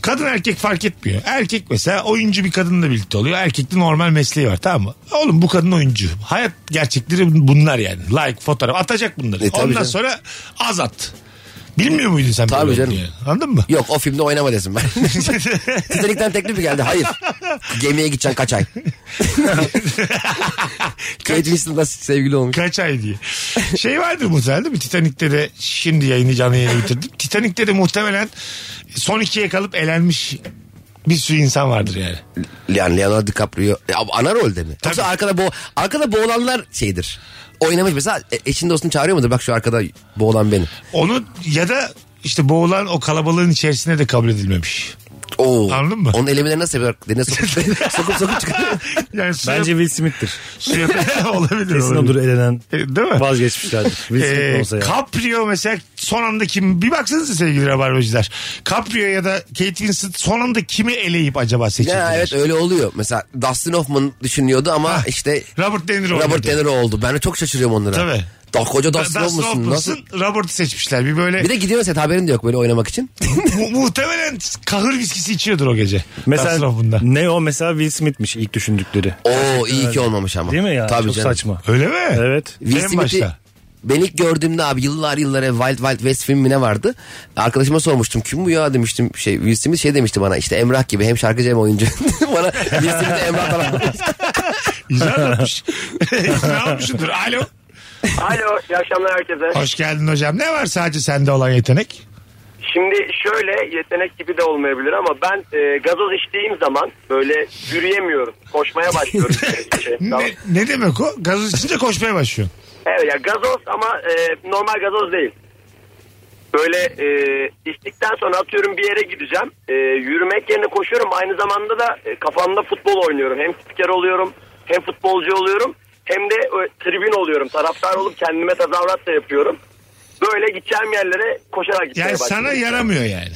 kadın erkek fark etmiyor. Erkek mesela oyuncu bir kadınla birlikte oluyor. Erkekte normal mesleği var tamam mı? Oğlum bu kadın oyuncu. Hayat gerçekleri bunlar yani. Like fotoğraf atacak bunları.
E, tabii
Ondan
canım.
sonra azat. Bilmiyor muydun sen?
Tabii
böyle
canım.
olduğunu yani? Anladın mı?
Yok o filmde oynama desin ben. Titanic'ten teklif mi geldi? Hayır. Gemiye gideceksin kaç ay. Kate Winslet'la sevgili olmuş.
Kaç ay diye. Şey vardır muhtemelen değil mi? Titanik'te de şimdi yayını canlı yayına bitirdim. Titanik'te de muhtemelen son ikiye kalıp elenmiş bir sürü insan vardır yani.
Yani Leonardo DiCaprio Ya, ama ana rolde mi? Yoksa arkada, bo arkada boğulanlar şeydir. Oynamış mesela e- eşin dostunu çağırıyor mudur? Bak şu arkada boğulan benim.
Onu ya da işte boğulan o kalabalığın içerisine de kabul edilmemiş.
Oo.
Anladın mı?
Onun elemeleri nasıl yapıyor? Denize sokup, sokup sokup çıkıyor.
Yani suya,
Bence Will Smith'tir.
suya olabilir.
Kesin
olabilir.
odur elenen.
E, Değil mi?
Vazgeçmişlerdir. Will Smith
Ee,
olsa ya.
Caprio mesela son anda kim bir baksanıza sevgili rabarbacılar. Caprio ya da Kate Winslet son anda kimi eleyip acaba seçildiler?
ya evet öyle oluyor. Mesela Dustin Hoffman düşünüyordu ama işte
Robert De Niro
Robert
oynadı.
De Niro oldu. Ben de çok şaşırıyorum onlara.
Tabii.
Daha koca
Da-
Dustin Hoffman'sın. Nasıl?
Robert'ı seçmişler. Bir böyle
Bir de gidiyor mesela haberin de yok böyle oynamak için.
mu- muhtemelen kahır viskisi içiyordur o gece. Mesela
Mesela
bunda.
ne o mesela Will Smith'miş ilk düşündükleri.
Oo iyi ki olmamış ama.
Değil mi ya?
Tabii
Çok
canım.
saçma.
Öyle mi?
Evet.
Will
En
Smith'i-
başta.
Ben ilk gördüğümde abi yıllar yıllar evvel Wild Wild West filmi ne vardı? Arkadaşıma sormuştum kim bu ya demiştim. Şey, Will Smith şey demişti bana işte Emrah gibi hem şarkıcı hem oyuncu. bana Will Smith de Emrah falan.
İzah da yapmış. ne yapmışsındır? Alo.
Alo, iyi akşamlar herkese.
Hoş geldin hocam. Ne var sadece sende olan yetenek?
Şimdi şöyle yetenek gibi de olmayabilir ama ben e, gazoz içtiğim zaman böyle yürüyemiyorum. Koşmaya başlıyorum. Şey, tamam.
Ne, ne demek o? Gazoz içince koşmaya başlıyorsun.
evet ya gazoz ama e, normal gazoz değil. Böyle e, içtikten sonra atıyorum bir yere gideceğim. E, yürümek yerine koşuyorum. Aynı zamanda da e, kafamda futbol oynuyorum. Hem spiker oluyorum hem futbolcu oluyorum. Hem de e, tribün oluyorum. Taraftar olup kendime tazavrat da yapıyorum. Böyle gideceğim yerlere koşarak gitmeye
Yani
başlıyorum.
sana yaramıyor yani.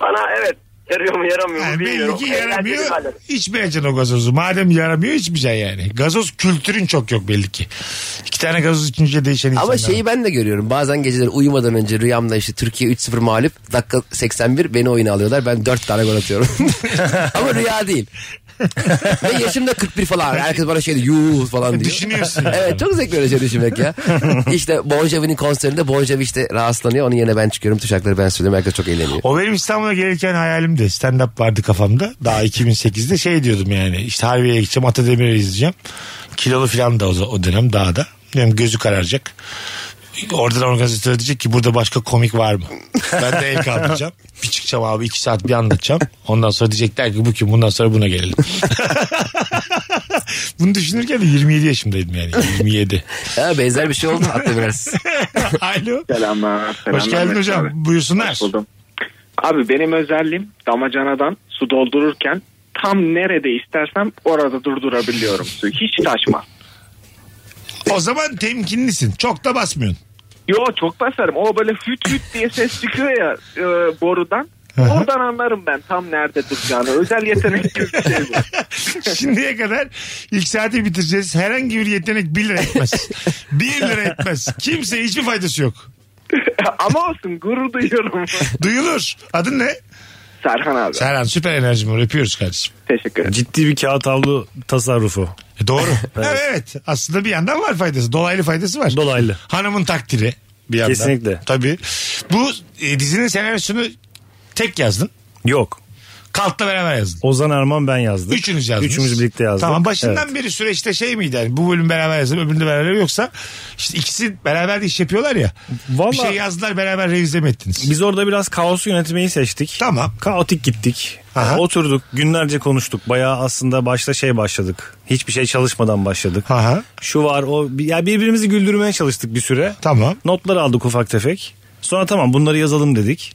Bana evet yarıyor mu yaramıyor mu
yani belli
bilmiyorum.
ki
Eğlenceli
yaramıyor.
bir alet.
İçmeyeceksin o gazozu. Madem yaramıyor içmeyeceksin yani. Gazoz kültürün çok yok belli ki. İki tane gazoz içince değişen insanlar.
Ama şey şeyi ben de görüyorum. Bazen geceleri uyumadan önce rüyamda işte Türkiye 3-0 mağlup. Dakika 81 beni oyuna alıyorlar. Ben 4 tane gol atıyorum. Ama rüya değil. Ve yaşım da 41 falan. Herkes bana şey diyor yuh falan diyor.
Düşünüyorsun.
Evet çok zevkli öyle şey düşünmek ya. işte Bon Jovi'nin konserinde Bon Jovi işte rahatsızlanıyor. Onun yerine ben çıkıyorum. Tuşakları ben söylüyorum. Herkes çok eğleniyor.
O benim İstanbul'a gelirken hayalimdi. Stand-up vardı kafamda. Daha 2008'de şey diyordum yani. İşte Harbiye'ye gideceğim, Atademir'i izleyeceğim. Kilolu falan da o, o dönem daha da. Diyorum gözü kararacak. Oradan organizatör diyecek ki burada başka komik var mı? Ben de el kaldıracağım. Bir çıkacağım abi iki saat bir anlatacağım. Ondan sonra diyecekler ki bu kim bundan sonra buna gelelim. Bunu düşünürken de 27 yaşımdaydım yani 27.
Ha, benzer bir şey oldu hatta biraz.
Alo.
Selamlar. selamlar
Hoş geldin
Mesut
hocam.
Abi.
Buyursunlar.
Hoş buldum. Abi benim özelliğim damacanadan su doldururken tam nerede istersem orada durdurabiliyorum suyu. Hiç taşma.
O zaman temkinlisin. Çok da basmıyorsun.
Yo çok basarım. O böyle hüt hüt diye ses çıkıyor ya e, borudan.
hı.
Oradan anlarım ben tam nerede duracağını. Özel yetenek gibi bir şey bu.
Şimdiye kadar ilk saati bitireceğiz. Herhangi bir yetenek 1 lira etmez. 1 lira etmez. Kimseye hiçbir faydası yok.
Ama olsun gurur duyuyorum.
Duyulur. Adın ne?
Serhan abi.
Serhan süper enerjim var. Öpüyoruz kardeşim.
Teşekkür ederim.
Ciddi bir kağıt havlu tasarrufu.
E doğru. evet. evet. Aslında bir yandan var faydası. Dolaylı faydası var.
Dolaylı.
Hanımın takdiri bir yandan.
Kesinlikle.
Tabii. Bu e, dizinin senaryosunu tek yazdın.
Yok.
Kalk'la beraber yazdın.
Ozan Erman ben yazdım.
Üçünüz yazdınız.
Üçümüz birlikte yazdık.
Tamam başından
Evet.
beri süreçte şey miydi yani bu bölüm beraber yazalım öbüründe beraber yoksa işte ikisi beraber de iş yapıyorlar ya.
Vallahi-
Bir şey yazdılar beraber revize mi ettiniz?
Biz orada biraz kaosu yönetmeyi seçtik.
Tamam.
Kaotik gittik.
Aha.
Oturduk günlerce konuştuk. Bayağı aslında başta şey başladık. Hiçbir şey çalışmadan başladık.
Aha.
Şu var o. Ya birbirimizi güldürmeye çalıştık bir süre.
Tamam.
Notlar aldık ufak tefek. Sonra tamam bunları yazalım dedik.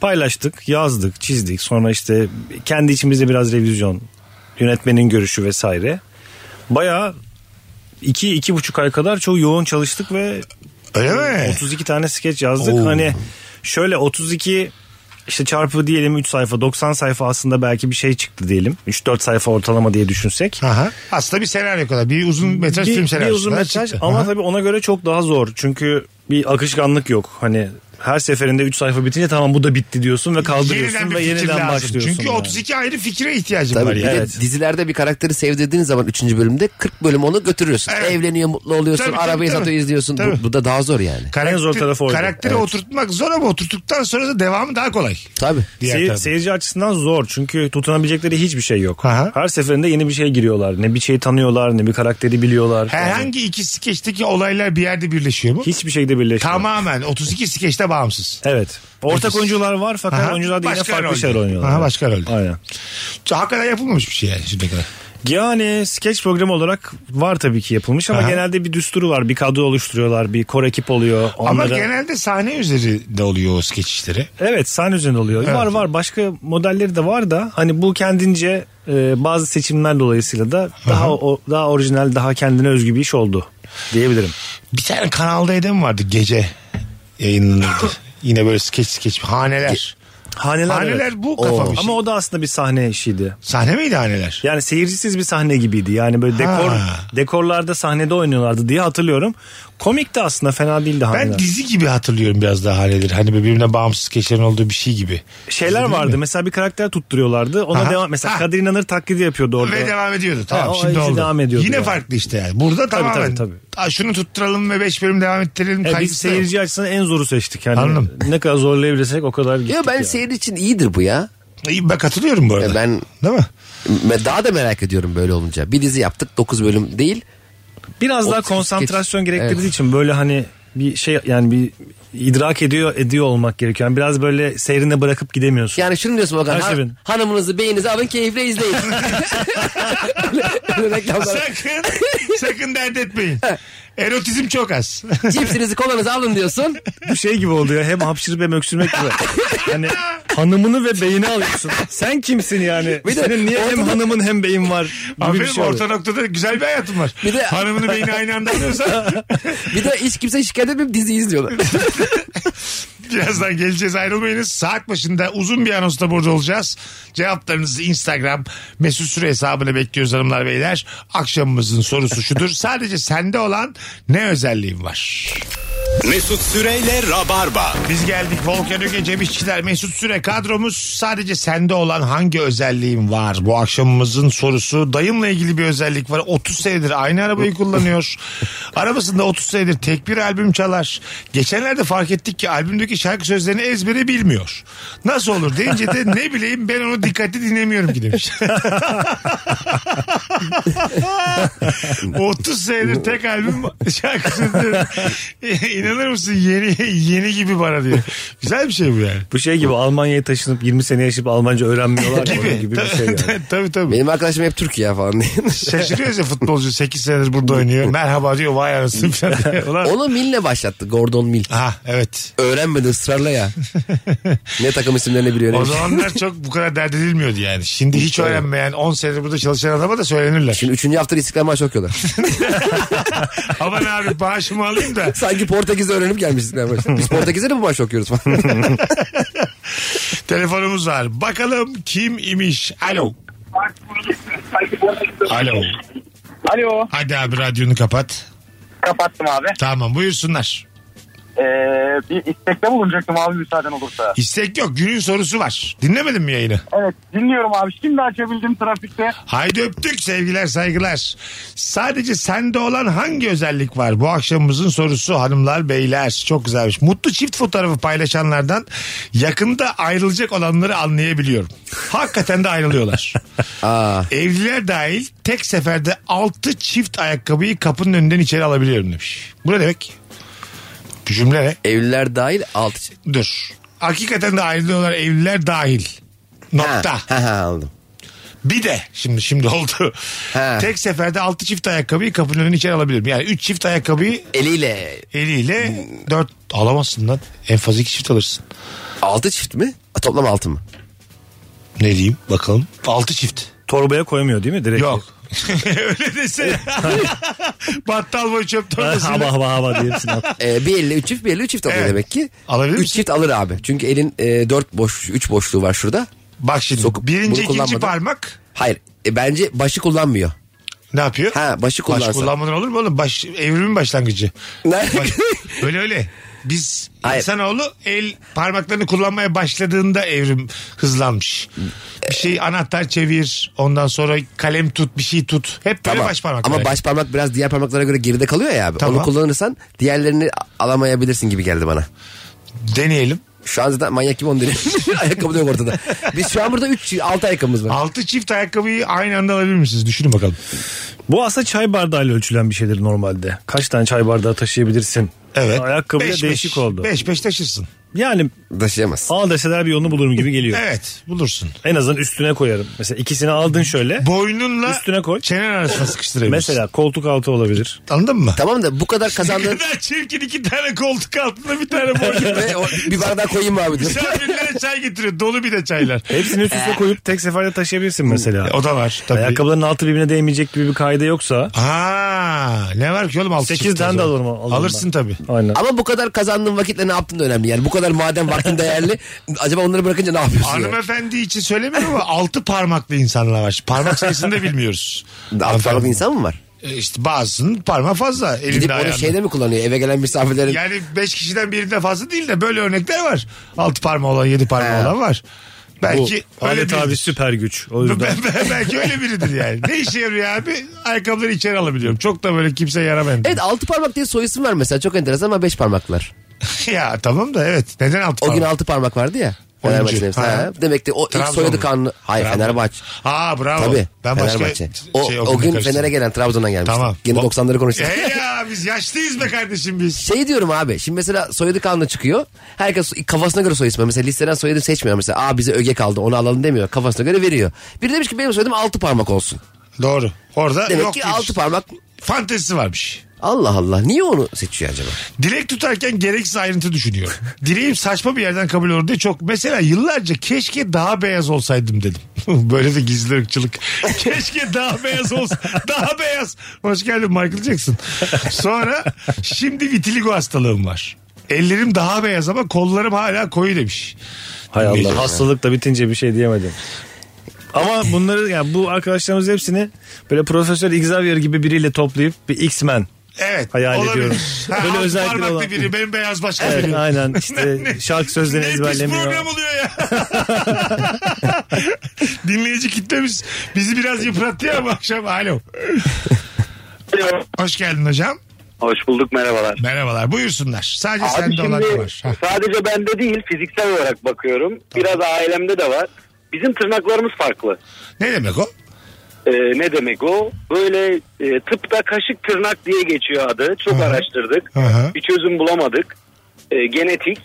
Paylaştık, yazdık, çizdik. Sonra işte kendi içimizde biraz revizyon, yönetmenin görüşü vesaire. Bayağı iki, iki buçuk ay kadar çok yoğun çalıştık ve
Öyle mi?
32 tane skeç yazdık.
Eh. Oo.
Hani şöyle 32 işte çarpı diyelim 3 sayfa 90 sayfa aslında belki bir şey çıktı diyelim. 3-4 sayfa ortalama diye düşünsek.
Aha. Aslında bir senaryo kadar. Bir uzun metraj
bir,
film
bir
senaryosu.
uzun
kadar
metraj
çıktı.
ama
Aha.
tabii ona göre çok daha zor. Çünkü bir akışkanlık yok. Hani her seferinde 3 sayfa bitince tamam bu da bitti diyorsun ve kaldırıyorsun
Yeniden bir
ve
fikir
yeniden
lazım.
başlıyorsun.
Çünkü
yani.
32 ayrı fikre ihtiyacım
Tabii
var.
bir
yani.
de dizilerde bir karakteri sevdirdiğiniz zaman 3. bölümde 40 bölüm onu götürüyorsun. Evleniyor, mutlu oluyorsun,
Tabii, tabii,
arabayı
tabii.
satıyor, izliyorsun.
Tabii.
Bu, bu da daha zor yani.
Karakter,
En zor tarafı oydu.
Karakteri
Evet.
oturtmak zor ama oturttuktan sonra da devamı daha kolay.
Tabii.
Diğer
Seyir-
tarafı.
seyirci açısından zor çünkü tutunabilecekleri hiçbir şey yok.
Aha.
Her seferinde yeni bir şey giriyorlar. Ne bir şey tanıyorlar ne bir karakteri biliyorlar.
Herhangi iki skeçteki olaylar bir yerde birleşiyor mu?
Hiçbir şeyde birleşmiyor.
Tamamen 32 skeçte bağımsız.
Evet. Ortak
Nefis.
oyuncular var fakat
Aha.
oyuncular da yine
Başka
farklı
rolde.
şeyler oynuyorlar.
Aha, başka rolde.
Aynen.
Hakikaten yapılmamış bir şey yani şimdiye kadar.
Yani skeç programı olarak var tabii ki yapılmış ama
Aha.
genelde bir düsturu var. Bir kadro oluşturuyorlar. Bir kor ekip oluyor. Onlara...
Ama genelde sahne üzerinde oluyor o skeç işleri.
Evet sahne üzerinde oluyor.
Evet.
Var var başka modelleri de var da hani bu kendince e, bazı seçimler dolayısıyla da daha o, daha orijinal daha kendine özgü bir iş oldu diyebilirim.
Bir tane kanalda Eden vardı gece yayınlanırdı. Yine böyle skeç skeç haneler.
Haneler,
Haneler bu kafa bir şey.
Ama o da aslında bir sahne işiydi.
Sahne miydi haneler?
Yani seyircisiz bir sahne gibiydi. Yani böyle dekor
Ha.
dekorlarda sahnede oynuyorlardı diye hatırlıyorum. Komik de aslında fena değildi
Ben
haneler.
dizi gibi hatırlıyorum biraz daha haneleri. Hani birbirinden bağımsız skeçlerin olduğu bir şey gibi.
Şeyler
Dizi değil
vardı.
mi?
mesela bir karakter tutturuyorlardı. Ona
Aha.
devam mesela
Ha.
Kadir İnanır taklidi yapıyordu orada.
Ve devam ediyordu. Tamam
Ha, o
şimdi
işi
oldu.
devam ediyordu
Yine
yani.
farklı işte yani. Burada
Tabii,
tamamen.
tabii,
"Aa, şunu tutturalım ve 5 bölüm devam ettirelim.
E, biz
kaygısı da yok.
seyirci açısından en zoru seçtik. Yani
Anladım.
ne kadar zorlayabilirsek o kadar gittik.
Ya ben
yani.
seyir için iyidir bu ya.
İyi, Ben katılıyorum bu arada.
Ya ben
Değil mi?
me- daha da merak ediyorum böyle olunca. Bir dizi yaptık 9 bölüm değil.
Biraz
O
daha
skeç-
konsantrasyon gerektirdiği
Evet.
için böyle hani bir şey yani bir idrak ediyor ediyor olmak gerekiyor. Yani biraz böyle seyrine bırakıp gidemiyorsun.
Yani şunu diyorsun Okan.
Her
ha-
seferin.
hanımınızı beyinizi alın keyifle izleyin. Öyle- öyle reklamlar.
Sakın, sakın dert etmeyin. Erotizm çok az.
Cipsinizi kolanızı alın diyorsun.
Bu şey gibi oluyor hem hapşırıp hem öksürmek gibi. Hani hanımını ve beyini alıyorsun. Sen kimsin yani?
Bir de
Senin niye hem
ortada-
hanımın hem beyin var gibi bir
Aferin
şey oluyor.
orta noktada güzel bir hayatım var.
Bir de-
Hanımını beyni aynı anda alıyorsa
Bir de hiç kimse şikayet etmeyip dizi izliyorlar.
birazdan geleceğiz ayrılmayınız. Saat başında uzun bir anonsla burada olacağız. Cevaplarınızı Instagram mesut süre hesabına bekliyoruz hanımlar beyler. Akşamımızın sorusu şudur. Sadece sende olan ne özelliğin var?
Mesut Süreyle Rabarba.
Biz geldik Volkan Öge, Cem İşçiler, Mesut Süre kadromuz. Sadece sende olan hangi özelliğin var? Bu akşamımızın sorusu. Dayımla ilgili bir özellik var. 30 senedir aynı arabayı kullanıyor. Arabasında 30 senedir tek bir albüm çalar. Geçenlerde fark ettik ki albümdeki şarkı sözlerini ezbere bilmiyor. Nasıl olur deyince de ne bileyim ben onu dikkatli dinlemiyorum ki demiş. 30 senedir tek albüm şarkısıdır. İnanır mısın yeni yeni gibi bana diyor. Güzel bir şey bu yani.
Bu şey gibi Almanya'ya taşınıp 20 sene yaşayıp Almanca öğrenmiyorlar gibi, gibi bir şey yani.
tabii tabii.
Benim arkadaşım hep Türkiye falan diye.
Şaşırıyoruz ya futbolcu 8 senedir burada oynuyor. Merhaba diyor vay anasını falan diyor. Ulan-
Onu Mill'le başlattı. Gordon Mill.
Ha evet.
Öğrenmedi ısrarla ya. ne takım isimlerini biliyor. ne
O
bir şey.
zamanlar çok bu kadar dert edilmiyordu yani. Şimdi hiç öğrenmeyen 10 senedir burada çalışan adama da söylenirler.
Şimdi üçüncü hafta istiklal maçı okuyorlar.
Aman abi bağışımı alayım da.
Sanki Portekiz'de öğrenip gelmiş istiklal maçı. Biz Portekiz'de de bu maçı okuyoruz falan.
Telefonumuz var. Bakalım kim imiş? Alo. Alo.
Alo.
Hadi abi radyonu kapat.
Kapattım abi. Ee,
Tamam buyursunlar.
bir istekte bulunacaktım abi müsaaden olursa.
İstek yok. Günün sorusu var. Dinlemedin mi yayını?
Evet dinliyorum abi. Şimdi açabildim trafikte.
Haydi öptük sevgiler saygılar. Sadece sende olan hangi özellik var? Bu akşamımızın sorusu hanımlar beyler. Çok güzelmiş. Mutlu çift fotoğrafı paylaşanlardan yakında ayrılacak olanları anlayabiliyorum. Hakikaten de ayrılıyorlar. Evliler dahil tek seferde 6 çift ayakkabıyı kapının önünden içeri alabiliyorum demiş. Bu ne demek? Bu cümle ne?
Evliler dahil şey. alt.
Dur. Hakikaten de ayrılıyorlar evliler dahil. Nokta.
Ha, ha, ha, aldım.
Bir de şimdi şimdi oldu.
He.
Tek seferde 6 çift ayakkabıyı kapının önüne içeri alabilirim. Yani 3 çift ayakkabıyı
Eliyle.
eliyle 4 alamazsın lan. En fazla 2 çift alırsın.
Altı çift mi? A, toplam altı mı?
Ne diyeyim bakalım. 6 çift.
Torbaya koymuyor değil mi direkt?
Yok. Öyle desene. Battal boy çöp torbasıyla.
Hava hava hava diye hepsini at.
Ee, bir elle üç çift bir elle üç çift alıyor
Evet.
demek ki.
Alabilir
üç
misin?
çift alır abi. Çünkü elin e, dört boş, üç boşluğu var şurada.
Bak şimdi
Sokup bunu
birinci ikinci
kullanmadan-
parmak
Hayır e, bence başı kullanmıyor.
ne yapıyor?
Ha başı
Baş
kullansa.
kullanmadan olur mu oğlum? Baş, evrimin başlangıcı.
Ne?
Baş- öyle öyle. Biz
Hayır.
insanoğlu el parmaklarını kullanmaya başladığında evrim hızlanmış. Bir şey anahtar çevir, ondan sonra kalem tut, bir şey tut. Hep böyle
Tamam.
baş parmak.
Ama
böyle.
baş parmak biraz diğer parmaklara göre geride kalıyor ya abi.
Tamam.
Onu kullanırsan diğerlerini alamayabilirsin gibi geldi bana.
Deneyelim.
Şu an zaten manyak gibi onu deniyor. Ayakkabı da yok ortada. Biz şu an burada 3 6 ayakkabımız var.
Altı çift ayakkabıyı aynı anda alabilir misiniz? Düşünün bakalım.
Bu aslında çay bardağıyla ölçülen bir şeydir normalde. Kaç tane çay bardağı taşıyabilirsin?
Evet.
Ayakkabı da
Beş,
değişik
beş.
oldu.
Beş beş taşırsın.
Yani
Taşıyamaz.
al deseler bir yolunu bulurum gibi geliyor.
Evet bulursun.
En azından üstüne koyarım. Mesela ikisini aldın şöyle.
Boynunla
Üstüne koy.
çenen arasına sıkıştırabilirsin.
Mesela koltuk altı olabilir.
Anladın mı?
Tamam da bu kadar
Ne
kazandığın
kadar çirkin iki tane koltuk altında bir tane boynunla.
ve o- bir bardak koyayım mı abi diyor.
Misafirlere çay getiriyor. Dolu bir de çaylar. E,
Hepsini üst üste koyup tek seferde taşıyabilirsin mesela.
O da var tabii.
Ayakkabıların altı birbirine değmeyecek gibi bir kaide yoksa.
Ha, ne var ki oğlum altı
Sekiz
çift o
tane de
zaman.
alırım, alırım ben.
Alırsın tabii.
Aynen.
Ama bu kadar kazandığın vakitle ne yaptın da önemli. Yani bu kadar madem vaktin değerli acaba onları bırakınca ne yapıyorsun? yani?
Hanımefendi için söylemiyorum ama altı parmaklı insanlar var. Parmak sayısını da bilmiyoruz.
Altı parmaklı insan mı var?
E İşte bazısının parmağı fazla elinde
Gidip onu
ayağında.
şeyde mi kullanıyor? Eve gelen misafirlerin
Yani beş kişiden birinde fazla değil de böyle örnekler var. Altı parmağı olan yedi parmağı olan var.
Bu
Belki öyle
alet
biridir.
abi süper güç. O yüzden.
Belki öyle biridir yani. Ne işe yarıyor abi? Ayakkabıları içeri alabiliyorum. Çok da böyle kimse yaramayan.
Evet altı parmak diye soy isim var mesela çok enteresan ama beş parmaklar.
ya tamam da evet. Neden altı
O
parmak?
gün altı parmak vardı ya.
Oyuncu.
Fenerbahçe'nin.
Ha.
Ha. Demek ki o ilk
Trabzon
soyadı
mu?
kanunu. Hayır
Trabzon.
Fenerbahçe.
Aa bravo.
Tabii.
Ben
Fenerbahçe.
başka
o,
şey
o
okudum,
gün
karıştırdım.
Fener'e gelen Trabzon'dan gelmişti.
Tamam.
Yine
O-
90'ları konuştuk.
E ya biz yaşlıyız be kardeşim biz.
Şey diyorum abi şimdi mesela soyadı kanunu çıkıyor. Herkes kafasına göre soy ismi. Mesela listeden soyadı seçmiyor. Mesela aa bize öge kaldı onu alalım demiyor. Kafasına göre veriyor. Biri demiş ki benim soyadım altı parmak olsun.
Doğru. Orada
Demek
yok
ki
bir-
altı parmak
Fantezisi varmış.
Allah Allah niye onu seçiyor acaba?
Dilek tutarken gereksiz ayrıntı düşünüyor. Dileğim saçma bir yerden kabul olur diye çok. Mesela yıllarca keşke daha beyaz olsaydım dedim. Böyle de gizli ırkçılık. keşke daha beyaz olsa. Daha beyaz. Hoş geldin Michael Jackson. Sonra şimdi vitiligo hastalığım var. Ellerim daha beyaz ama kollarım hala koyu demiş.
Hay Allah. Hastalık da bitince bir şey diyemedim. Ama bunları yani bu arkadaşlarımız hepsini böyle Profesör Xavier gibi biriyle toplayıp bir X-Men
Evet.
Hayal
olabilir.
ediyorum.
Ha,
Böyle
Böyle
özellikleri
özellikleri
olan-
biri benim beyaz başka
Evet,
biri.
aynen. İşte şarkı sözlerini
Ne
ezberlemiyor.
pis program oluyor ya. Dinleyici kitlemiz bizi biraz yıprattı ya bu akşam. Alo. Hoş geldin hocam.
Hoş bulduk merhabalar.
Merhabalar. Buyursunlar. Sadece
Abi
sende olan ne
şimdi
var? Ha.
sadece bende değil fiziksel olarak bakıyorum. Biraz ailemde de var. Bizim tırnaklarımız farklı.
Ne demek o?
Ee, ne demek o? Böyle e, tıpta kaşık tırnak diye geçiyor adı. Çok
Hı hı.
araştırdık.
Hı hı.
Bir çözüm bulamadık. Ee, genetik.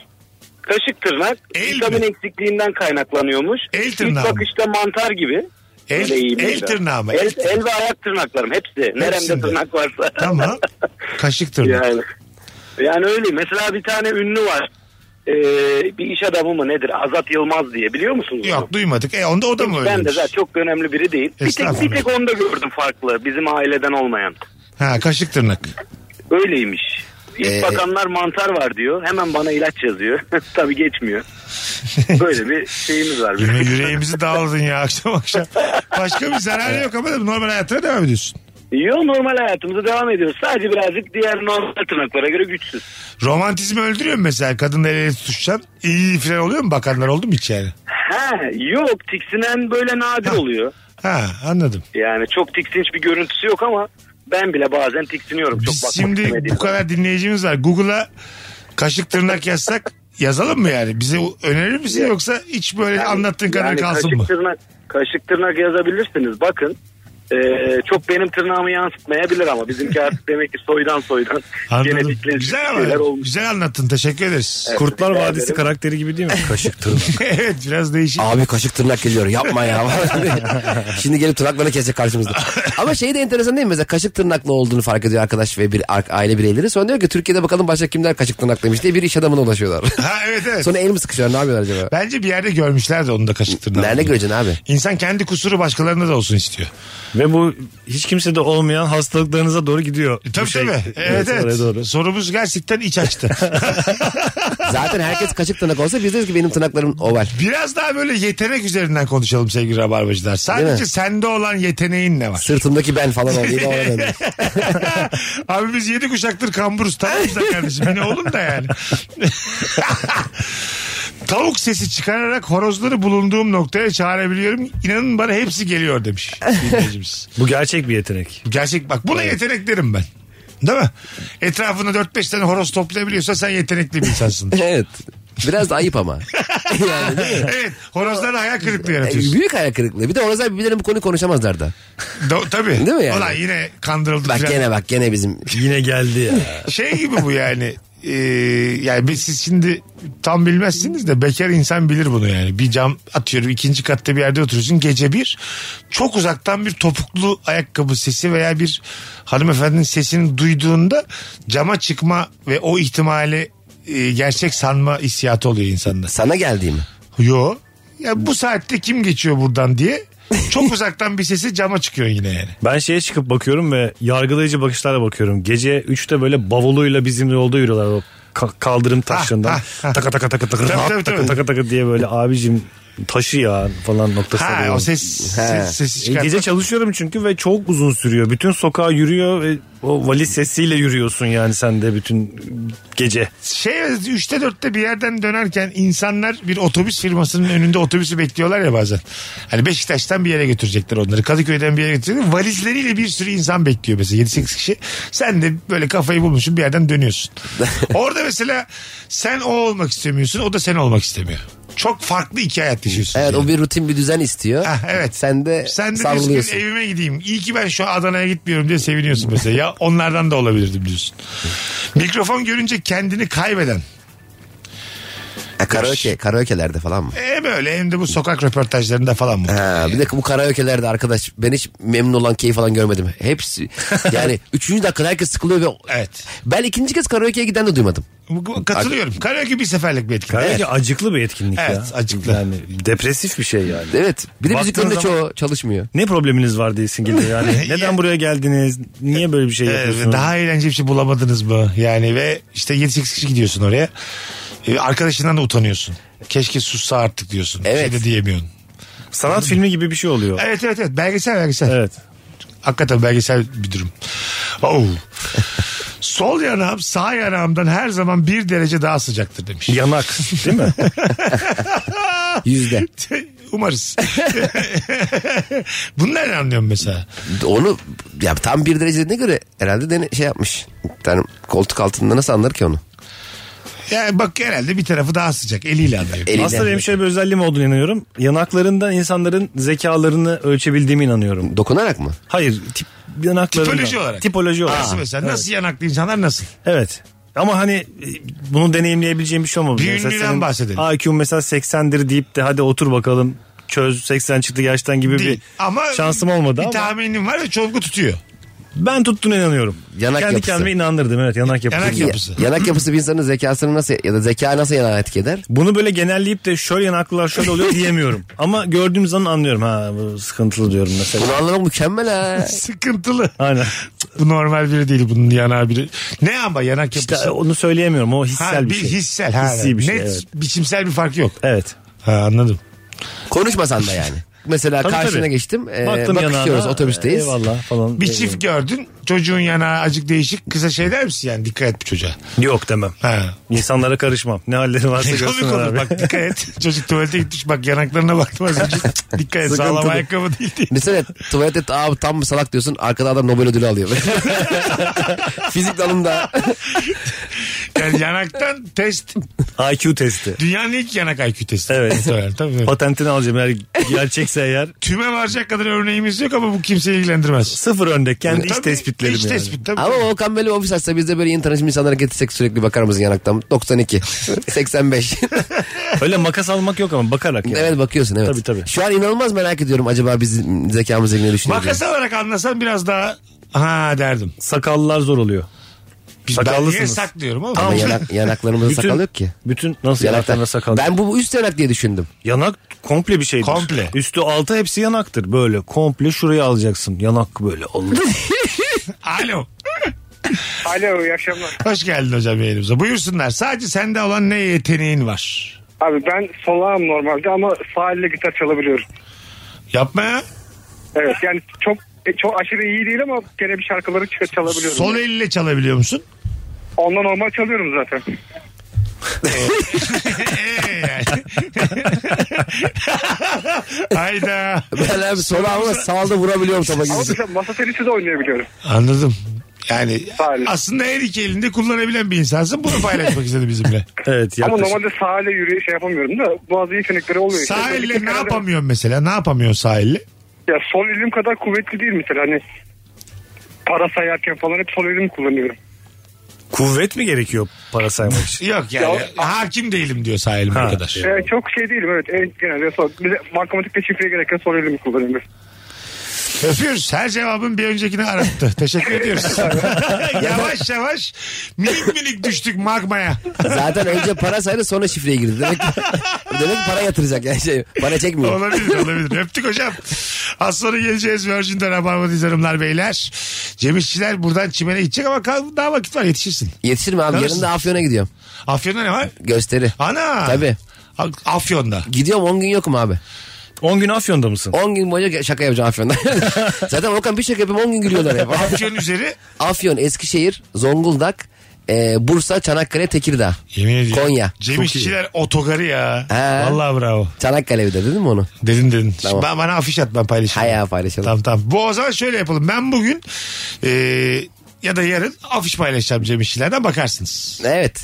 Kaşık tırnak
El
vitamin
mi?
eksikliğinden kaynaklanıyormuş.
El
İlk
tırnağı mı?
bakışta mantar gibi.
El,
Öyle iyiymiş
el
ya.
tırnağı mı?
El, el ve ayak tırnaklarım hepsi. Neremde
Hepsinde.
tırnak varsa.
Tamam. Kaşık tırnağı.
Yani, yani öyle. Mesela bir tane ünlü var. Ee, bir iş adamı mı nedir? Azat Yılmaz diye biliyor musunuz? onu?
Yok duymadık. E onda o da mı öyle?
Ben de zaten çok önemli biri değil. Bir tek, bir
Estağfurullah.
tek onu da gördüm farklı. Bizim aileden olmayan.
Ha kaşık tırnak.
Öyleymiş. İlk
Ee,
bakanlar mantar var diyor. Hemen bana ilaç yazıyor. Tabii geçmiyor. Böyle bir şeyimiz var.
Yüre- yüreğimizi dağıldın ya akşam akşam. Başka bir zararı yok ama normal hayatına devam ediyorsun.
Yo normal hayatımıza devam ediyoruz. Sadece birazcık diğer normal tırnaklara göre güçsüz.
Romantizmi öldürüyor mu mesela? Kadınla el ele tutuşacaksın. İyi falan oluyor mu? Bakanlar oldu mu hiç yani?
Ha yok tiksinen böyle nadir oluyor.
Ha anladım.
Yani çok tiksinç bir görüntüsü yok ama ben bile bazen tiksiniyorum. Çok
Biz
bakmak
şimdi
istemediğim
bu kadar dinleyicimiz var. Google'a kaşık tırnak yazsak yazalım mı yani? Bize önerir misin yoksa hiç böyle
Yani-
anlattığın kadar
yani
kalsın
kaşık
mı?
Tırnak, kaşık tırnak yazabilirsiniz. Bakın Ee, çok benim tırnağımı yansıtmayabilir ama bizimki artık demek ki soydan soydan
Anladım.
genetikle
Güzel
şeyler
ama
olmuş.
güzel anlattın. Teşekkür ederiz.
Kurtlar
rica
Vadisi
ederim.
karakteri gibi değil mi? Kaşık tırnak.
evet biraz değişik.
Abi kaşık tırnak geliyor yapma ya. Şimdi gelip tırnaklarını kesecek karşımızda. Ama şey de enteresan değil mi? Mesela kaşık tırnaklı olduğunu fark ediyor arkadaş ve bir ar- aile bireyleri. Sonra diyor ki Türkiye'de bakalım başka kimler kaşık tırnaklıymış diye bir iş adamına ulaşıyorlar.
Ha evet evet.
Sonra el mi sıkışıyorlar ne yapıyorlar acaba?
Bence bir yerde görmüşler de onu da kaşık tırnağı.
Nerede göreceksin abi?
İnsan kendi kusuru başkalarında da olsun istiyor.
Ve bu hiç kimse de olmayan hastalıklarınıza doğru gidiyor. Bu
E, Tabii
şey.
tabii. Evet
oraya
evet.
Doğru.
Sorumuz gerçekten iç açtı.
Zaten herkes kaşık tırnak olsa biz deriz ki benim tırnaklarım oval.
Biraz daha böyle yetenek üzerinden konuşalım sevgili rabarbacılar.
Değil
Sadece
mi?
sende olan yeteneğin ne var?
Sırtımdaki ben falan oldu. Yine ona döndü.
Abi biz yedi kuşaktır kamburuz tamamız da kardeşim. Yine oğlum da yani. Tavuk sesi çıkararak horozları bulunduğum noktaya çağırabiliyorum. İnanın bana hepsi geliyor demiş dinleyicimiz.
Bu gerçek bir yetenek.
Gerçek bak buna yetenek derim ben. Değil mi? Etrafında 4-5 tane horoz toplayabiliyorsa sen yetenekli bir insansın.
evet. Biraz da ayıp ama. yani değil mi?
evet horozlara hayal kırıklığı
E,
yaratıyorsun.
Büyük hayal kırıklığı. Bir de orada birbirlerine bu konuyu konuşamazlar da.
Do- tabii.
E, Değil mi yani?
Ulan yine kandırıldık.
Bak
falan.
gene bak gene bizim
Yine geldi ya.
Şey gibi bu yani. Ee, yani biz- siz şimdi tam bilmezsiniz de bekar insan bilir bunu yani. Bir cam atıyorum ikinci katta bir yerde oturuyorsun gece bir çok uzaktan bir topuklu ayakkabı sesi veya bir hanımefendinin sesini duyduğunda cama çıkma ve o ihtimali e, gerçek sanma hissiyatı oluyor insanda.
sana geldiğimi.
Yo. Ya bu saatte kim geçiyor buradan diye çok uzaktan bir sesi cama çıkıyor yine yani.
Ben şeye çıkıp bakıyorum ve yargılayıcı bakışlarla bakıyorum. Gece 3'te böyle bavuluyla bizim yolda yürüyorlar o ka- kaldırım taşından.
ha, ha.
Taka taka taka taka
Tabii,
rahat
tabii,
taka
tabii.
taka taka diye böyle abicim taşı ya falan noktasına
Ha
geliyorum.
o ses, ses sesi
E,
çıkartmak.
gece çalışıyorum çünkü ve çok uzun sürüyor. Bütün sokağa yürüyor ve o valiz sesiyle yürüyorsun yani sen de bütün gece.
şey 3'te 4'te bir yerden dönerken insanlar bir otobüs firmasının önünde otobüsü bekliyorlar ya bazen. Hani Beşiktaş'tan bir yere götürecekler onları. Kadıköy'den bir yere götürecekler. Valizleriyle bir sürü insan bekliyor mesela 7-8 kişi. Sen de böyle kafayı bulmuşsun bir yerden dönüyorsun. Orada mesela sen o olmak istemiyorsun o da sen olmak istemiyor. Çok farklı iki hayat yaşıyorsun.
Evet
yani.
o bir rutin bir düzen istiyor.
Ha, Ah, evet.
Sen de,
Sen de diyorsun ki
sallıyorsun.
evime gideyim. İyi ki ben şu an Adana'ya gitmiyorum diye seviniyorsun mesela. ya onlardan da olabilirdim diyorsun. Mikrofon görünce kendini kaybeden.
Ha, E, karaoke, karaoke'lerde falan mı?
E böyle hem de bu sokak röportajlarında falan mı?
Ha, bir de bu karaoke'lerde arkadaş ben hiç memnun olan keyif falan görmedim. Hepsi yani üçüncü dakikada herkes sıkılıyor ve
Evet.
ben ikinci kez karaoke'ye giden de duymadım.
Bu- bu- Katılıyorum. Karaoke bir seferlik bir etkinlik.
Karaoke acıklı bir etkinlik ya.
Evet, acıklı.
Yani depresif bir şey yani.
Evet bir de
Baktığın
müziklerin de
zaman-
çoğu çalışmıyor.
Ne probleminiz var diyesin geliyor yani. Neden buraya geldiniz? Niye böyle bir şey
Evet,
yapıyorsunuz?
daha eğlenceli bir şey bulamadınız mı? Yani ve işte 7-8 kişi gidiyorsun oraya. E, Arkadaşından da utanıyorsun. Keşke sussa artık diyorsun.
Evet.
Şey de diyemiyorsun.
Sanat filmi gibi bir şey oluyor.
Evet evet evet. Belgesel belgesel.
Evet.
Hakikaten belgesel bir durum. Oh. Sol yanağım sağ yanağımdan her zaman bir derece daha sıcaktır demiş.
Yanak değil mi?
Yüzde.
Umarız. Bunlar ne anlıyorum mesela?
Onu ya tam bir derecede göre herhalde dene, şey yapmış. Bir tane koltuk altında nasıl anlar ki onu?
Yani bak herhalde bir tarafı daha sıcak. Eliyle anlıyor.
Eliyle.
Aslında benim şey- şöyle bir özelliğim olduğunu inanıyorum. Yanaklarından insanların zekalarını ölçebildiğime inanıyorum.
Dokunarak mı?
Hayır tip yanaklarından.
Tipoloji olarak.
Tipoloji olarak.
Nasıl mesela? Nasıl yanaklı insanlar nasıl?
Evet. Ama hani e, bunu deneyimleyebileceğim bir şey olmadı.
Bir
Mesela
ünlüden
senin
bahsedelim.
IQ mesela 80'dir deyip de hadi otur bakalım çöz 80 çıktı gerçekten gibi
Değil.
bir
Ama
şansım olmadı
bir
ama
tahminim var ve çoğunluğu tutuyor.
ben tuttuğuna inanıyorum.
Yanak
Kendi
yapısı.
kendime inandırdım evet yanak yapısı.
Yanak
diye.
yapısı. Yapısı.
Yanak yapısı bir insanın zekasını nasıl ya da zeka nasıl yana etki eder?
Bunu böyle genelleyip de şöyle yanaklılar şöyle oluyor diyemiyorum. Ama gördüğüm zaman anlıyorum ha bu sıkıntılı diyorum mesela.
Bunu anlamak mükemmel ha.
Sıkıntılı.
Aynen.
Bu normal biri değil bunun yanağı biri. Ne ama yanak yapısı?
İşte onu söyleyemiyorum o hissel
ha,
bir,
bir
şey.
hissel. Ha,
Hissi bir şey,
net
evet.
biçimsel bir fark yok.
Evet.
Ha, anladım.
Konuşmasan da yani. Mesela
Tabii,
karşına
tabii.
geçtim. E,
Baktım
bakışıyoruz
yanağına,
otobüsteyiz.
Eyvallah falan.
Bir çift gördün çocuğun yanağı acık değişik kısa şey der misin yani dikkat et bu çocuğa.
Yok demem.
Ha.
İnsanlara karışmam. Ne halleri varsa
Ne komik
görsünler
olur
abi.
bak dikkat et. Çocuk tuvalete gitmiş bak yanaklarına baktım az önce. dikkat et sağlam
Sıkıntılı.
ayakkabı değil diye.
Mesela tuvalette abi tam mı salak diyorsun arkada adam Nobel ödülü alıyor. Fizik dalında.
Yani yanaktan test.
IQ testi.
Dünyanın ilk yanak IQ testi.
Evet.
Muhtemelen, tabii.
Patentini alacağım eğer gerçekse eğer.
Tüme varacak kadar örneğimiz yok ama bu kimseyi ilgilendirmez.
Sıfır önde kendi iç
Tabii,
tespitlerim
iç
yani.
tespit tabii.
Ama Volkan böyle ofis açsa biz de böyle yeni tanışmış insanlara getirsek sürekli bakar mısın yanaktan? 92, 85.
Öyle makas almak yok ama bakarak yani.
evet bakıyorsun evet.
Tabii, tabii.
Şu an inanılmaz merak ediyorum acaba biz zekamız ne düşünüyoruz?
Makas alarak anlasan biraz daha ha derdim.
Sakallılar zor oluyor.
Biz ben
Sakallısınız.
niye saklıyorum oğlum?
Ama yanak, yanaklarımızda
Bütün-
sakal yok ki.
Bütün nasıl
Yanaktan-
yanaklarına sakal?
Ben bu, bu üst yanak diye düşündüm.
Yanak komple bir şeydir.
Komple.
Üstü altı hepsi yanaktır. Böyle komple şuraya alacaksın. Yanak böyle olur.
Alo.
Alo iyi akşamlar.
Hoş geldin hocam yayınımıza. Buyursunlar. Sadece sende olan ne yeteneğin var?
Abi ben solağım normalde ama sağ elle gitar çalabiliyorum.
Yapma ya.
Evet yani çok e, çok aşırı iyi değil ama gene bir şarkıları ç- çalabiliyorum.
Sol elle çalabiliyor musun?
Ondan normal çalıyorum zaten.
Ee, yani. Hayda.
Ben abi sola ama sağda vurabiliyorum topa
Ama
gibi.
mesela masa tenisi de oynayabiliyorum.
Anladım. Yani
Sağ elle.
aslında her iki elinde kullanabilen bir insansın. Bunu paylaşmak istedi bizimle.
evet
Ama
yaklaşık.
normalde sağ elle yürüye şey yapamıyorum da bazı yetenekleri oluyor. işte.
Sağ
Böyle
elle
iki
ne
kenarda-
yapamıyorsun mesela? Ne yapamıyorsun sağ elle?
Ya sol elim kadar kuvvetli değil mesela hani para sayarken falan hep sol elimi kullanıyorum.
Kuvvet mi gerekiyor para saymak için?
Yok yani.
Yok.
Hakim değilim diyor sağ elim
Ha.
kadar.
Ee, çok şey değilim evet en genelde sol. Bize matematikte şifreye gereken sol elimi kullanıyorum.
Öpüyoruz. Her cevabın bir öncekini arattı. Teşekkür ediyoruz. yavaş yavaş minik minik düştük magmaya.
Zaten önce para saydı sonra şifreye girdi. Demek ki, demek ki para yatıracak yani şey. Para çekmiyor.
Olabilir olabilir. Öptük hocam. Az sonra geleceğiz Virgin'de Rabarba'dayız hanımlar beyler. Cem İşçiler buradan çimene gidecek ama kal- daha vakit var yetişirsin.
Yetişir mi abi?
Kalırsın.
Yarın da Afyon'a gidiyorum.
Afyon'da ne var?
Gösteri.
Ana.
Tabii.
A- Afyon'da.
Gidiyorum 10 gün yokum abi.
10 gün Afyon'da mısın?
10 gün boyunca şaka yapacağım Afyon'da. Zaten Okan bir şaka yapayım 10 gün gülüyorlar hep.
Afyon üzeri.
Afyon, Eskişehir, Zonguldak, e, Bursa, Çanakkale, Tekirdağ.
Yemin ediyorum.
Konya.
Cem
Çok
İşçiler otogarı ya.
He.
Vallahi bravo.
Çanakkale bir de dedim mi onu?
Dedin dedin. Şimdi
Tamam.
ben, bana afiş at ben paylaşayım.
Hay ya, paylaşalım.
Tamam tamam. Bu o zaman şöyle yapalım. Ben bugün e, ya da yarın afiş paylaşacağım Cem İşçiler'den bakarsınız.
Evet.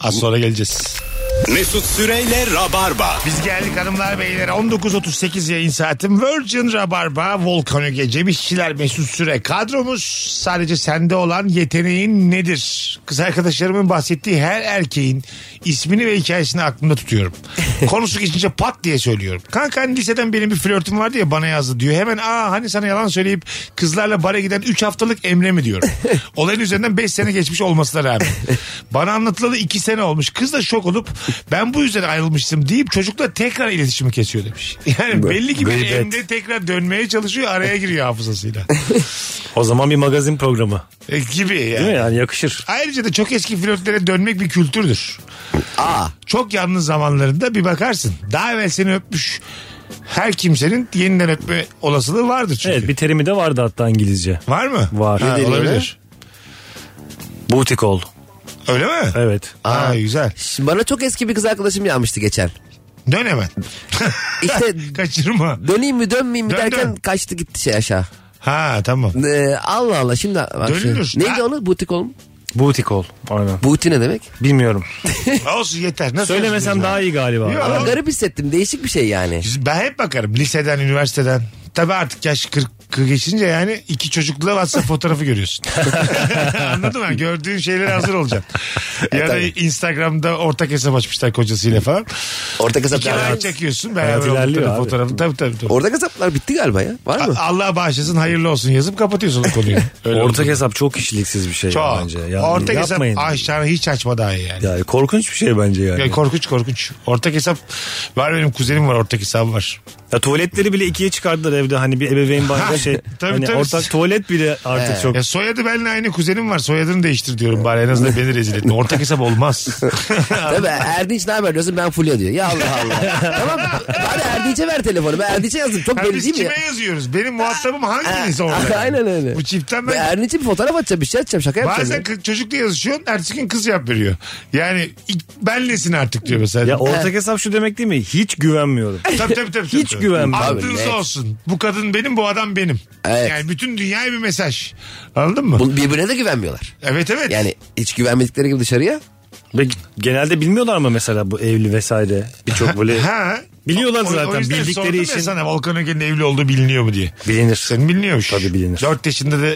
Az sonra geleceğiz.
Mesut Süreyle Rabarba.
Biz geldik hanımlar beyler 19.38 yayın saatim Virgin Rabarba Volkan Öge Cem İşçiler Mesut Süre kadromuz sadece sende olan yeteneğin nedir? Kız arkadaşlarımın bahsettiği her erkeğin ismini ve hikayesini aklımda tutuyorum. Konusu geçince pat diye söylüyorum. Kanka hani liseden benim bir flörtüm vardı ya bana yazdı diyor. Hemen aa hani sana yalan söyleyip kızlarla bara giden 3 haftalık Emre mi diyorum. Olayın üzerinden 5 sene geçmiş olmasına rağmen. Bana anlatılalı 2 sene olmuş. Kız da şok olup ben bu yüzden ayrılmıştım deyip çocukla tekrar iletişimi kesiyor demiş. Yani belli ki bir
Gıybet.
Emre tekrar dönmeye çalışıyor araya giriyor hafızasıyla.
O zaman bir magazin programı.
E, gibi
Değil mi
yani.
yani yakışır.
Ayrıca da çok eski flörtlere dönmek bir kültürdür.
Aa.
Çok yalnız zamanlarında bir bakarsın. Daha evvel seni öpmüş her kimsenin yeniden öpme olasılığı vardır çünkü.
Evet bir terimi de vardı hatta İngilizce.
Var mı?
Var.
Ha,
Ne deniyor
olabilir.
Booty call.
Öyle mi?
Evet.
Aa, güzel.
Şimdi Bana çok eski bir kız arkadaşım yanmıştı geçen.
Dön hemen.
İşte
Kaçırma.
döneyim mi dönmeyeyim mi
Dön,
derken
dön.
kaçtı gitti şey aşağı.
Ha tamam.
Ee, Allah Allah şimdi bak şey-
Dönülür.
Neydi
Ha.
onu? Butik oğlum.
Booty call. Aynen.
Buti ne demek?
Bilmiyorum.
Olsun yeter. Nasıl
Söylemesem
yazıyorsun
daha iyi galiba.
Yok.
Ama
Oğlum.
garip hissettim. Değişik bir şey yani.
ya? Ben hep bakarım liseden, üniversiteden. Tabii artık yaş 40 geçince yani iki çocukla WhatsApp fotoğrafı görüyorsun. Anladın mı? Gördüğün şeylere hazır olacaksın.
E,
ya da Instagram'da ortak hesap açmışlar kocasıyla falan.
Ortak hesap
İki ay
Evet.
çekiyorsun beraber
Hayat ilerliyor
oldukları
abi.
fotoğrafı. Tabii tabii. tabii.
Ortak hesaplar bitti galiba ya. Var mı?
A- Allah bağışlasın hayırlı olsun yazıp kapatıyorsun o konuyu. Öyle
Ortak
oldu.
hesap çok kişiliksiz bir şey ya
Çok.
bence. Yani
Ortak hesap
yapmayın.
aşağına hiç açma daha iyi yani.
Yani korkunç bir şey bence yani.
Ya korkunç korkunç. Ortak hesap var benim kuzenim var ortak hesabı var.
Ya tuvaletleri bile ikiye çıkardılar evde hani bir ebeveyn banka şey.
Tabii,
hani
tabii.
ortak tuvalet bile artık çok.
Ya soyadı benimle aynı kuzenim var. Soyadını değiştir diyorum bari en azından beni rezil etme. Ortak hesap olmaz.
Tabii Erdinç ne haber diyorsun ben Fulya diyor. Ya Allah Allah. tamam bari Erdinç'e ver telefonu. Ben Erdinç'e yazdım. Çok
Ha,
belli
biz
değil mi
kime
ya?
yazıyoruz? Benim muhatabım hanginiz
Ha,
orada?
Aynen öyle.
Bu çiftten
Ben
ben
Erdinç'e bir fotoğraf atacağım bir şey atacağım şaka yapacağım.
bazen
ya.
kız- çocukla yazışıyorsun ertesi gün kız yap veriyor. Yani ilk- benlesin artık diyor mesela.
Ya ortak hesap şu demek değil mi? Hiç güvenmiyorum.
Tabii tabii tabii.
Hiç
tabii.
güvenmiyorum.
Tabii,
Aklınız
net.
olsun. Bu kadın benim bu adam benim.
Evet.
Yani bütün dünyaya bir mesaj. Anladın mı?
Bu- Birbirine de güvenmiyorlar.
Evet evet.
Yani hiç güvenmedikleri gibi dışarıya
Ve genelde bilmiyorlar mı mesela bu evli vesaire birçok böyle.
Ha.
Biliyorlar
O- o-
zaten
o yüzden
bildikleri
sordum ya
için.
sana Volkan Ögen'in evli olduğu biliniyor mu diye.
Bilinir.
Senin biliniyormuş. Tabii
bilinir.
4 yaşında da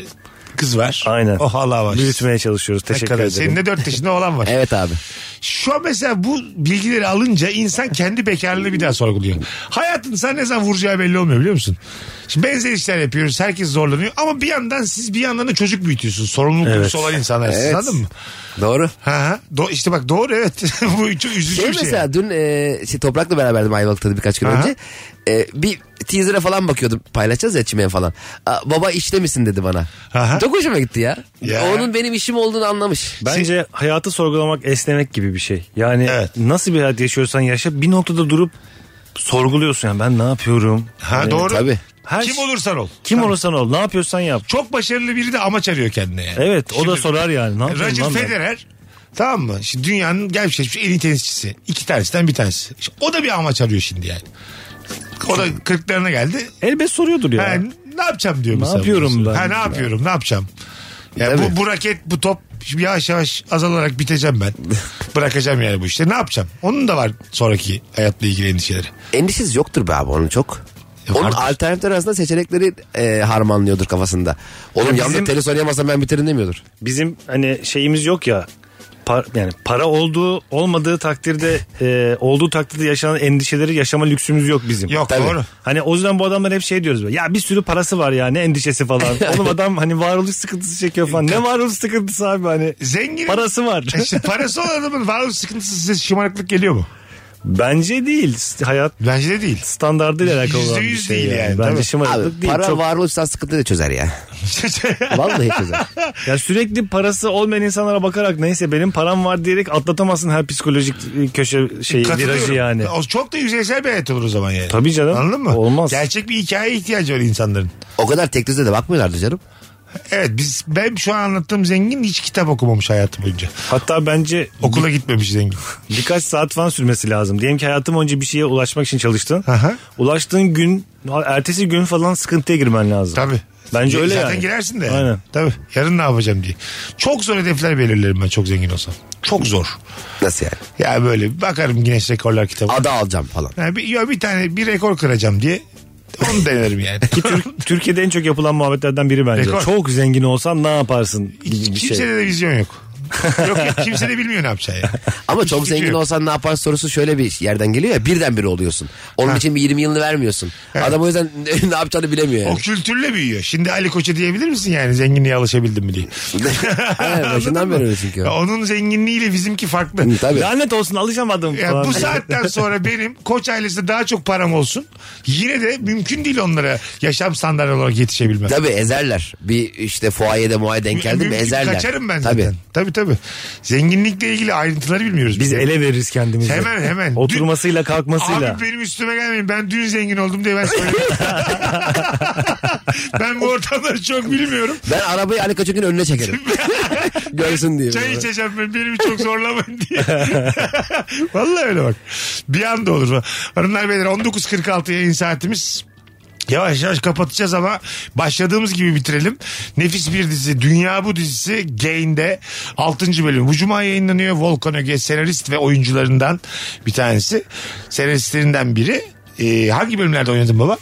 kız var.
Aynen.
O hala var.
Büyütmeye çalışıyoruz.
Ne
Teşekkür
kadar?
ederim.
Senin de 4 yaşında olan var.
Evet abi.
Şu an mesela bu bilgileri alınca insan kendi bekarlığını bir daha sorguluyor. Hayatın sen ne zaman vuracağı belli olmuyor biliyor musun? Şimdi benzer işler yapıyoruz. Herkes zorlanıyor. Ama bir yandan siz bir yandan da çocuk büyütüyorsunuz. Sorumluluk
Evet.
duygusu olan insanlarsınız.
Evet.
Anladın mı?
Doğru.
Ha, ha. Do- işte bak doğru evet. bu çok üzücü
Şey
bir şey.
mesela dün e, şey, Toprak'la beraberdim Ayvalık'ta birkaç gün
Aha.
önce. E, bir teaser'a falan bakıyordum. Paylaşacağız ya çimen falan. Aa, baba işte misin dedi bana.
Aha.
Çok hoşuma gitti ya.
Ya.
Onun benim işim olduğunu anlamış.
Bence hayatı sorgulamak esnemek gibi bir şey. Yani
Evet.
nasıl bir hayat yaşıyorsan yaşa bir noktada durup sorguluyorsun yani ben ne yapıyorum?
Ha
Hani
doğru.
E, Tabii.
Her
Kim
şey-
olursan ol.
Kim olursan ol ne yapıyorsan yap.
Çok başarılı biri de amaç arıyor kendine yani.
Evet o da
Şimdi-
sorar yani. Ne yapayım
Roger
lan ben?
Federer tamam mı? Şimdi dünyanın gelmiş geçmiş en iyi tenisçisi. İki tanesinden bir tanesi. Şimdi o da bir amaç arıyor şimdi yani. O da kırklarına geldi.
Elbet soruyordur ya.
Ha, ne yapacağım diyor
Ne
mesela.
yapıyorum
bu.
ben?
Ha, ne yapıyorum ne yapacağım. Ya
Tabii.
bu, bu raket bu top şimdi yavaş yavaş azalarak biteceğim ben. Bırakacağım yani bu işte. Ne yapacağım? Onun da var sonraki hayatla ilgili endişeleri.
Endişesi yoktur be abi onun çok.
Yok,
onun
vardır.
alternatifler arasında seçenekleri e, harmanlıyordur kafasında. Oğlum
Ya
yalnız
bizim-
tenis oynayamazsam ben biterim demiyordur.
Bizim hani şeyimiz yok ya. par- yani para olduğu olmadığı takdirde e, olduğu takdirde yaşanan endişeleri yaşama lüksümüz yok bizim.
Yok
Tabii.
doğru.
Hani o yüzden bu adamlar hep şey diyoruz. böyle, Ya bir sürü parası var ya ne endişesi falan. Oğlum adam hani varoluş sıkıntısı çekiyor falan. Ne varoluş sıkıntısı abi hani.
Zengin
Parası var.
İşte E, parası olan adamın varoluş sıkıntısı size şımarıklık geliyor mu?
Bence değil. Hayat
Bence de değil.
standartıyla alakalı olan bir
%100
şey.
değil
yani.
yani,
Bence
tabii.
şımarıklık
Abi
değil.
para
Çok-
var olursa sıkıntı da çözer ya. Vallahi çözer.
Ya sürekli parası olmayan insanlara bakarak neyse benim param var diyerek atlatamazsın her psikolojik e, köşe şeyi
Katılıyorum.
virajı yani.
O çok da yüzeysel bir hayat olur o zaman yani.
Tabii canım.
Anladın mı?
Olmaz.
Gerçek bir hikayeye ihtiyacı var insanların.
O kadar tek düze de bakmıyorlardı canım.
Evet biz ben şu an anlattığım zengin hiç kitap okumamış hayatı boyunca.
Hatta bence
Okula gitmemiş zengin.
birkaç saat falan sürmesi lazım. Diyelim ki hayatım önce bir şeye ulaşmak için çalıştın.
Aha.
Ulaştığın gün ertesi gün falan sıkıntıya girmen lazım.
Tabii.
Bence öyle
Zaten
yani.
girersin de.
Aynen.
Tabii. Yarın ne yapacağım diye. Çok zor hedefler belirlerim ben çok zengin olsam. Çok zor.
Nasıl yani?
Ya böyle bakarım Guinness Rekorlar kitabı.
Ada alacağım falan.
Ha, bir, ya bir tane bir rekor kıracağım diye onu denerim yani.
Ki Tür- Türkiye'de en çok yapılan muhabbetlerden biri bence.
Rekor.
Çok zengin olsan ne yaparsın gibi bir şey.
Kimsede de vizyon yok. yok yok kimse de bilmiyor ne yapacağı yani.
Ama
Hiç
çok
fikri
zengin
yok.
olsan ne yaparsın sorusu şöyle bir yerden geliyor ya birdenbire oluyorsun. Onun için bir 20 yılını vermiyorsun. Adam o yüzden ne yapacağını bilemiyor
O
yani.
kültürle büyüyor. Şimdi Ali Koç'a diyebilir misin yani zenginliğe alışabildim mi diye.
Evet, başından beri öyle çünkü.
Ya Onun zenginliğiyle bizimki farklı.
Hı, Tabii.
Lanet olsun alışamadım
Ya
falan.
bu saatten sonra benim koç ailesinde daha çok param olsun. Yine de mümkün değil onlara yaşam standartı olarak yetişebilmem.
Tabii ezerler. Bir işte fuayede muaye denk geldi mi
Mümkün-
ezerler.
Kaçarım ben
Tabii.
zaten. Tabii tabii. Zenginlikle ilgili ayrıntıları bilmiyoruz.
Biz ele veririz kendimizi.
Hemen, hemen.
Oturmasıyla kalkmasıyla.
Abi benim üstüme gelmeyin. Ben dün zengin oldum diye ben söyledim. ben bu ortamları çok bilmiyorum.
Ben arabayı Ali Koç'un önüne çekerim. Görsün diye.
Çay içeceğim ben beni çok zorlamayın diye. Vallahi öyle bak. Bir anda olur. Hanımlar beyler 19.46 yayın saatimiz. Yavaş yavaş kapatacağız ama başladığımız gibi bitirelim. Nefis bir dizi Dünya Bu dizisi Gain'de 6. bölüm. Bu cuma yayınlanıyor. Volkan Öge senarist ve oyuncularından bir tanesi. Senaristlerinden biri. Ee, hangi bölümlerde oynadın baba?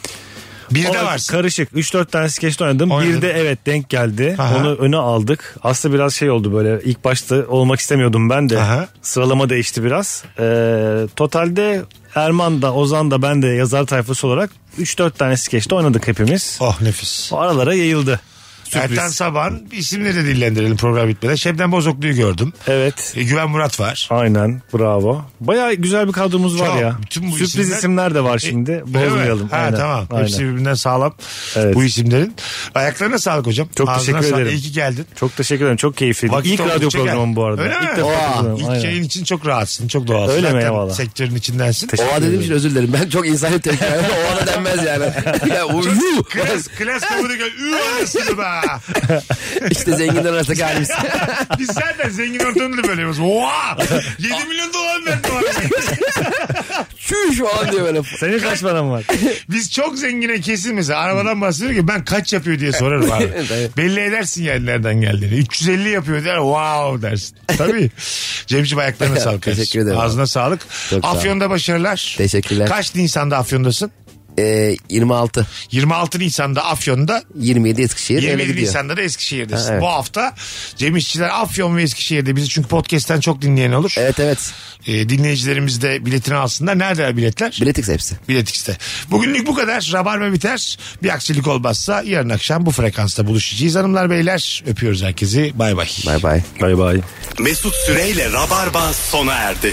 Bir de
O
varsın.
Karışık. 3-4 tane skeçte oynadım.
Oynadın.
Bir de evet denk geldi.
Aha.
Onu öne aldık. Aslında biraz şey oldu böyle. İlk başta olmak istemiyordum ben de.
Aha.
Sıralama değişti biraz. Ee, totalde Erman da Ozan da ben de yazar tayfası olarak 3-4 tane skeçte oynadık hepimiz.
Oh nefis.
O aralara yayıldı. Sürpriz.
Ertan Saban isimleri de dillendirelim program bitmeden. Şebnem Bozoklu'yu gördüm.
Evet.
E, Güven Murat var.
Aynen bravo. Baya güzel bir kadromuz var
Çok.
ya.
Bütün bu
Sürpriz
isimler-
isimler... de var şimdi.
E,
Bozmayalım.
evet. Ha,
Aynen.
tamam.
Aynen.
Hepsi birbirinden sağlam
Evet.
bu isimlerin. Ayaklarına sağlık hocam.
Çok
Ağzına
teşekkür
sağlık.
ederim.
İyi ki geldin.
Çok teşekkür ederim. Çok keyifliydi.
Vakit
İlk
oldukça
radyo
gel.
programı bu arada.
Öyle mi?
İlk defa
Oha.
katılıyorum.
İlk
Aynen.
yayın için çok rahatsın. Çok doğalsın.
Öyle mi?
Zaten
Eyvallah.
Sektörün içindensin.
Teşekkür
Oha dedim için özür dilerim. Ben çok insani tepki verdim. Oha da denmez yani. ya, o- yuh!
Klas, klas kabuğunu gör. Üü anasını be.
İşte zenginler arasındaki halimiz.
Biz zaten zengin ortamında da böyle yapıyoruz. Oha! 7 milyon dolar verdim abi.
Çüş falan diyor böyle.
Senin kaç paran var?
Biz çok zengine kesin mesela arabadan bahsediyor ki ben kaç yapıyor diye sorarım abi. Belli edersin yani nereden geldiğini. 350 yapıyor der wow dersin. Tabii. Cemciğim ayaklarına sağlık.
Teşekkür ederim.
Ağzına sağlık.
Çok sağ ol.
Afyon'da başarılar.
Teşekkürler.
Kaç Nisan'da Afyon'dasın?
Ee, 26,
26 Nisan'da Afyon'da
27 Eskişehir. öyle
27
gidiyor.
Nisan'da da Eskişehir'desin.
Ha, evet.
Bu hafta Cem İşçiler Afyon ve Eskişehir'de bizi çünkü podcast'ten çok dinleyen olur.
Evet evet.
Ee, dinleyicilerimiz de biletini alsınlar. Nerede biletler?
Biletix hepsi.
Biletix'te. Bugünlük bu kadar. Rabarba biter. Bir aksilik olmazsa yarın akşam bu frekansta buluşacağız. Hanımlar beyler öpüyoruz herkesi. Bay bay.
Bay bay.
Bay bay.
Mesut Süreyle Rabarba sona erdi.